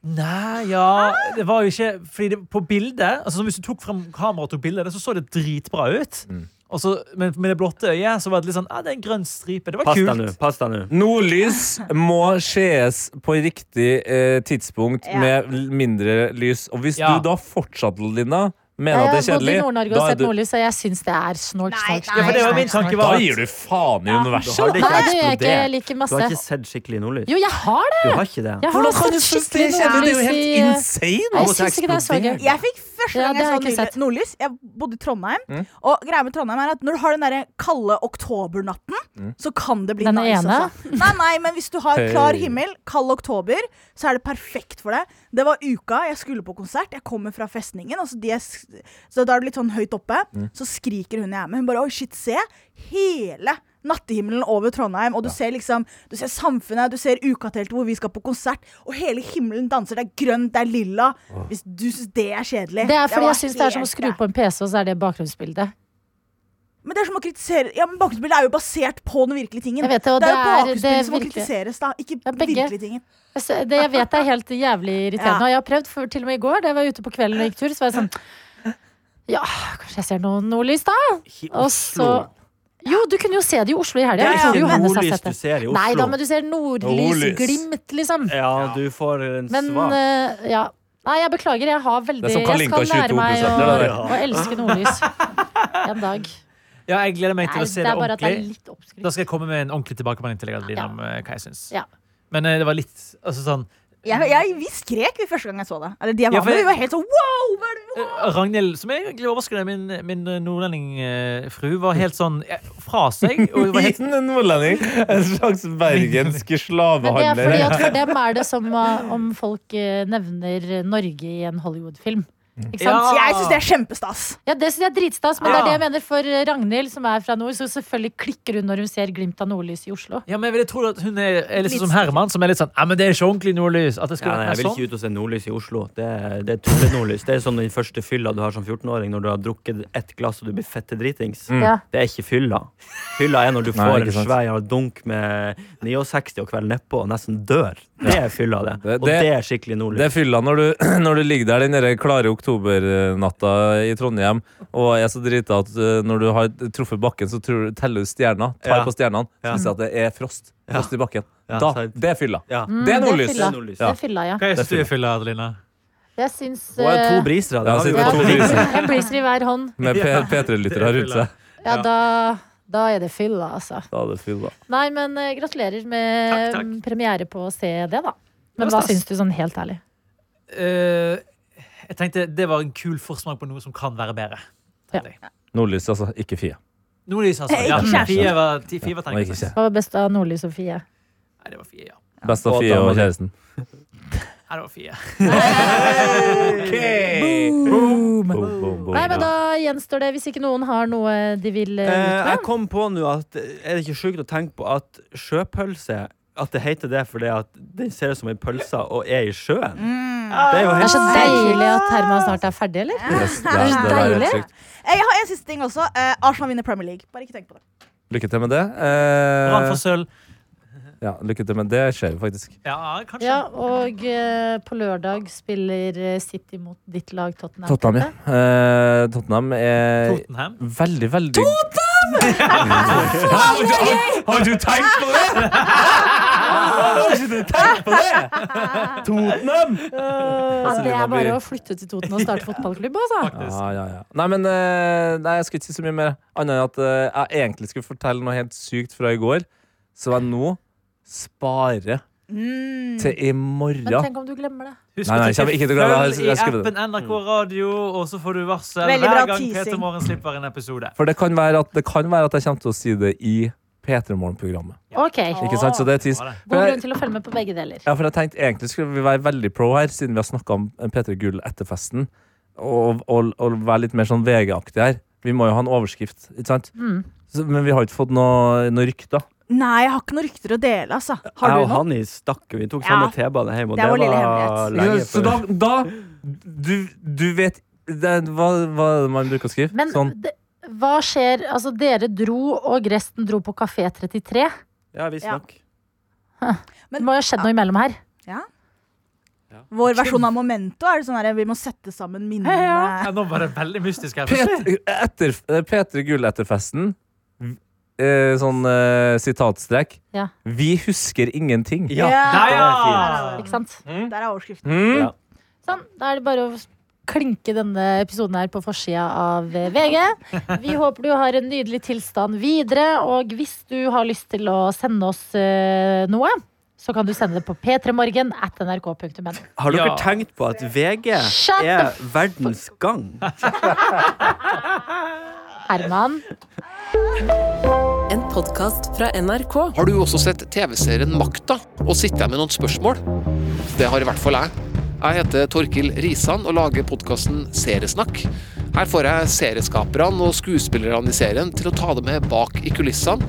S4: Nei,
S3: Ah!
S4: ja Det var jo ikke Fordi det, på bildet altså, Hvis du tok frem kameraet og tok bildet av det, Så så det dritbra ut
S3: Mm.
S4: Og så, Men med det blotte øyet Så var det litt sånn ah, Det er en grønn stripe Det var
S3: Pass deg nå.
S4: kult
S3: Pass deg nå.
S5: Nordlys må skjees på riktig eh, tidspunkt
S7: Ja.
S5: med l- mindre lys. Og hvis
S4: Ja.
S5: du da fortsatt, Lina, mener at det
S2: Jeg har
S5: er
S2: bodd i
S5: kjedelig,
S2: Nord-Norge
S5: da,
S2: og
S5: er
S2: sett
S5: du,
S2: nordlys, og jeg syns det er snork, snork,
S7: Nei, nei,
S4: Ja, for det var
S2: snork,
S4: min
S2: snork,
S4: tanke
S5: da
S4: var at-
S5: gir du faen i
S3: Du
S5: universet.
S3: har det
S2: snork. Nei, det gjør jeg ikke.
S3: ikke
S2: Jeg liker
S3: eksplodert. Du har
S2: masse.
S3: ikke sett skikkelig nordlys.
S2: Jo, jeg har det!
S3: Du har ikke det.
S2: Jeg har
S5: Hvordan kan du
S2: sett
S5: synes det
S2: skikkelig
S5: er kjedelig? Det er jo
S2: nordlys i,
S5: helt
S2: eh,
S5: insane!
S2: Nei, Jeg syns ikke det er så gøy.
S7: Jeg fikk første
S2: Ja,
S7: gang
S2: det har
S7: jeg
S2: jeg
S7: så
S2: ikke
S7: nordlys,
S2: sett.
S7: nordlys. Jeg bodde i Trondheim. Og greia med Trondheim er at når du har den der kalde oktobernatten, så kan det bli
S2: Den
S7: nice.
S2: ene?
S7: Også. Nei, nei, men hvis du har klar
S5: Hey.
S7: himmel, kald oktober, så er det perfekt for deg. Det var uka jeg skulle på konsert. Jeg kommer fra festningen, og så, de er, s- så da er det litt sånn høyt oppe.
S4: Mm.
S7: Så skriker hun jeg er med. Hun bare oi, shit, se. Hele Nattehimmelen over Trondheim, og du ser liksom Du ser samfunnet, du ser ukateltet hvor vi skal på konsert, og hele himmelen danser. Det er grønt, det er lilla. Hvis du syns det er kjedelig
S2: Det er fordi
S7: var
S2: jeg syns det er som å
S7: helt
S2: skru
S7: greit.
S2: på en PC, og så er det bakgrunnsbildet.
S7: Men det er som å kritisere Ja, men bakgrunnsbildet er jo basert på den virkelige tingen.
S2: Jeg vet det, og
S7: er
S2: det
S7: jo
S2: er-
S7: bakgrunnsbildet
S2: det er
S7: som må
S2: virkelig-
S7: kritiseres, da. Ikke
S2: Ja,
S7: den
S2: begge.
S7: virkelige tingen.
S2: Jeg sy- Det jeg vet er helt jævlig irriterende.
S7: Ja.
S2: Og jeg har prøvd, for, til og med i går, da jeg var ute på kvelden og gikk tur, så var jeg sånn Ja, kanskje jeg ser noe nordlys, da?
S3: Ikke i
S2: Og så
S3: Oslo.
S2: Jo, du kunne jo se det i Oslo i helga.
S3: Det
S2: Jeg
S3: er
S2: tror
S3: ikke
S2: Johannes har
S3: nordlys
S2: sett
S3: du
S2: det.
S3: ser i Oslo.
S2: Nei da, men du ser
S5: Nordlys.
S2: nordlysglimt, liksom.
S3: Ja, du får en
S2: Men
S3: svar.
S2: eh, ja. Nei, jeg beklager. Jeg har veldig
S5: Det er som
S2: Jeg skal
S5: Kalinka
S2: lære meg
S5: 22%,
S2: å,
S5: det er det.
S2: å elske nordlys en dag.
S4: Ja, jeg gleder meg
S2: Nei,
S4: til å
S2: det
S4: se
S2: er
S4: det
S2: bare at det er
S4: ordentlig
S2: litt
S4: Da
S2: oppskrytt.
S4: skal jeg komme med en ordentlig tilbakemelding til deg Adeline,
S2: Ja.
S4: Om eh, hva jeg synes
S2: Ja.
S4: Men eh, det var litt Altså sånn
S7: Jeg, jeg, vi skrek vi første gang jeg så det. Eller de jeg var
S4: Ja, for-
S7: med, vi var helt sånn wow! Hva er det?
S4: Eh, Ragnhild, som er egentlig overraskende min, min eh, nordlendingfru, var helt sånn eh, fra seg. Og var helt,
S5: Liten nordlending. En slags bergenske
S2: Men det er fordi
S5: slavehandler.
S2: at for dem er det som eh, om folk eh, nevner Norge i en Hollywood-film.
S4: Mm.
S2: Ikke sant?
S4: Ja.
S7: Jeg syns det er kjempestas.
S2: Ja, Det syns jeg er dritstas, men det
S4: Ja.
S2: er det jeg mener for eh, Ragnhild, som er fra nord, så selvfølgelig klikker hun når hun ser glimt av nordlys i Oslo.
S4: ja, men jeg ville tro at hun er, er litt
S7: Litt
S4: sånn som Herman, som er litt sånn Ja, men det er ikke ordentlig nordlys. At det skal
S3: Ja, nei, jeg
S4: være
S3: vil
S4: sånn.
S3: ikke ut og se nordlys i Oslo. Det er, det er tullenordlys. Det er som den første fylla du har som 14-åring når du har drukket ett glass og du blir fette dritings.
S5: Mm.
S2: Ja.
S3: Det er ikke fylla. Fylla er når du
S5: Nei,
S3: får
S5: ikke
S3: en
S5: sant.
S3: svær jævla dunk med 69 og kvelden nedpå og nesten dør. Det er fylla, det.
S5: Det-
S3: Og
S5: det-
S3: det er skikkelig nordlig.
S5: Det er fylla når du, når du ligger der den der klare oktobernatta i Trondheim og er så drita at eh, når du har truffet bakken, så tror, du- teller du stjerna. Tar
S3: Ja.
S5: på stjernene.
S3: Ja.
S5: Viser at det er frost. Frost i bakken.
S3: Ja,
S5: Da,
S3: sant.
S5: det er fylla.
S3: ja.
S2: Mm,
S5: Det er nordlys.
S2: fylla.
S3: Det er nordlys.
S2: Det er fylla, ja.
S4: Hva er stuefylla, Adelina?
S2: Jeg syns
S3: Og det er
S2: eh,
S3: to brisere.
S5: Ja,
S3: Det har vi
S5: sitter
S3: jo
S5: med
S2: ja,
S5: to
S3: vært-
S5: briser.
S2: En briser i hver hånd.
S5: Med
S4: Ja.
S5: P3-lyttere rundt seg.
S2: Ja,
S4: Ja.
S2: da, da er det fylla, altså.
S5: Da er det fylla.
S2: Nei, men eh, gratulerer med
S4: Takk, takk.
S2: mm, premiere på å se det, da. Men
S4: Det var
S2: hva
S4: stas.
S2: syns du, sånn helt ærlig?
S4: Eh, jeg tenkte det var en kul forsmak på noe som kan være bedre.
S2: Ja.
S5: Nordlys, altså. Ikke Fie.
S4: Nordlys, altså.
S7: Ikke
S4: Ja,
S7: kjæreste.
S4: Fie var, ti- fie var
S5: Og ikke
S4: tenkt.
S5: Kje.
S2: Hva var best av Nordli Sofie?
S4: Nei, det var Fie, ja.
S5: Best av
S3: Og
S5: Fie og
S3: damer.
S5: kjæresten.
S4: Nei, det var Fie.
S5: Eh,
S2: Boom!
S5: Boom, boom, boom.
S2: Nei, men da gjenstår det, hvis ikke noen har noe de vil eh,
S3: Eh,
S2: ut
S3: jeg
S2: med.
S3: kom på nå at eh, Er det ikke sjukt å tenke på at sjøpølse At det heter det fordi at den ser ut som en pølse og er i sjøen?
S7: Mm.
S3: Det er jo
S2: Det er
S3: helt
S2: så deilig at Herman snart er ferdig, eller?
S5: Yes, det er-
S2: Det er så
S5: det er helt
S2: deilig.
S5: sykt.
S7: Jeg har en siste ting også. Eh, Arsenal vinner Premier League. Bare ikke tenk på det.
S5: Lykke til med det.
S4: Brann
S5: Eh,
S4: for sølv.
S5: ja, lykke til med det. skjer jo faktisk.
S4: Ja, kanskje.
S2: Ja, og eh, på lørdag spiller eh, City mot ditt lag Tottenham.
S5: Tottenham, ja. Eh, Tottenham er
S4: Tottenham.
S5: veldig, veldig
S4: Har du, har, har du tenkt på det?! Har ikke du tenkt på det?! Tottenham!
S2: Ja, det er
S5: Tottenham
S2: Eh, bare
S5: blir-
S2: å flytte til Toten og starte fotballklubb, altså.
S5: Ja, ja, ja. Nei, men eh, nei, jeg skulle ikke si så mye mer. Annet enn at eh, jeg egentlig skulle fortelle noe helt sykt fra i går, som jeg nå sparer til i morgen.
S2: Men tenk om du glemmer det.
S4: Husk
S5: Nei, nei,
S4: å
S5: jeg kommer ikke til å glemme det. Jeg-
S4: følg i
S5: jeg skriver det.
S4: appen NRK Radio, og så får du varsel
S7: Veldig
S4: hver
S7: bra
S4: gang
S7: teasing.
S4: Peter Morgen slipper en episode.
S5: For det kan, være at, det kan være at jeg kommer til å si det i P3 Morgen-programmet.
S2: Ok.
S5: Ikke sant? Så det er tis.
S4: Bra, det.
S5: For
S2: God
S5: jeg-
S2: grunn til å følge med på begge deler.
S5: Ja, for jeg tenkte Egentlig skulle vi være veldig pro her, siden vi har snakka om P3 Gull etter festen. Og, og, og være litt mer sånn VG-aktig her. Vi må jo ha en overskrift, ikke sant?
S2: Mm.
S5: Så, men vi har ikke fått noe, noe rykter.
S7: Nei, jeg har ikke noen rykter å dele, altså. Har
S3: Jeg og
S7: du noe?
S3: Hanni stakk Vi tok
S7: Ja.
S3: samme T-bane hjem, og
S7: Det er
S3: det,
S7: vår lille
S3: var
S7: hemmelighet.
S3: lenge
S5: så da,
S3: før.
S5: da du, du vet det, hva, hva er det man bruker å skrive?
S2: Men
S5: sånn.
S2: det, hva skjer Altså, dere dro, og resten dro på Kafé 33.
S3: Ja, visstnok.
S2: Det må jo ha skjedd noe imellom her.
S7: Vår versjon av Momento er det sånn her, vi må sette sammen minnene.
S4: Ja, nå var det veldig mystisk her.
S5: Peter, etter, eh, Peter Gull etter festen. Eh, sånn eh, sitatstrek.
S2: Ja.
S5: Vi husker ingenting.
S3: Ja.
S4: Nei, ja. Mm.
S2: Ikke sant?
S7: Der er overskriften.
S5: Mm?
S3: Ja.
S2: Sånn, da er det bare å klinke denne episoden her på forsida av eh, VG. Vi håper du har en nydelig tilstand videre, og hvis du har lyst til å sende oss eh, noe, så kan du sende det på p3morgen at nrk.no.
S3: Har dere
S4: Ja.
S3: tenkt på at VG
S2: Shut
S3: er verdens gang?
S2: Herman.
S11: En podkast fra NRK.
S10: Har du også sett TV-serien Makta? Og sitter jeg med noen spørsmål? Det har i hvert fall jeg. Jeg heter Torkil Risan og lager podkasten Seriesnakk. Her får jeg serieskaperne og skuespillerne i serien til å ta det med bak i kulissene,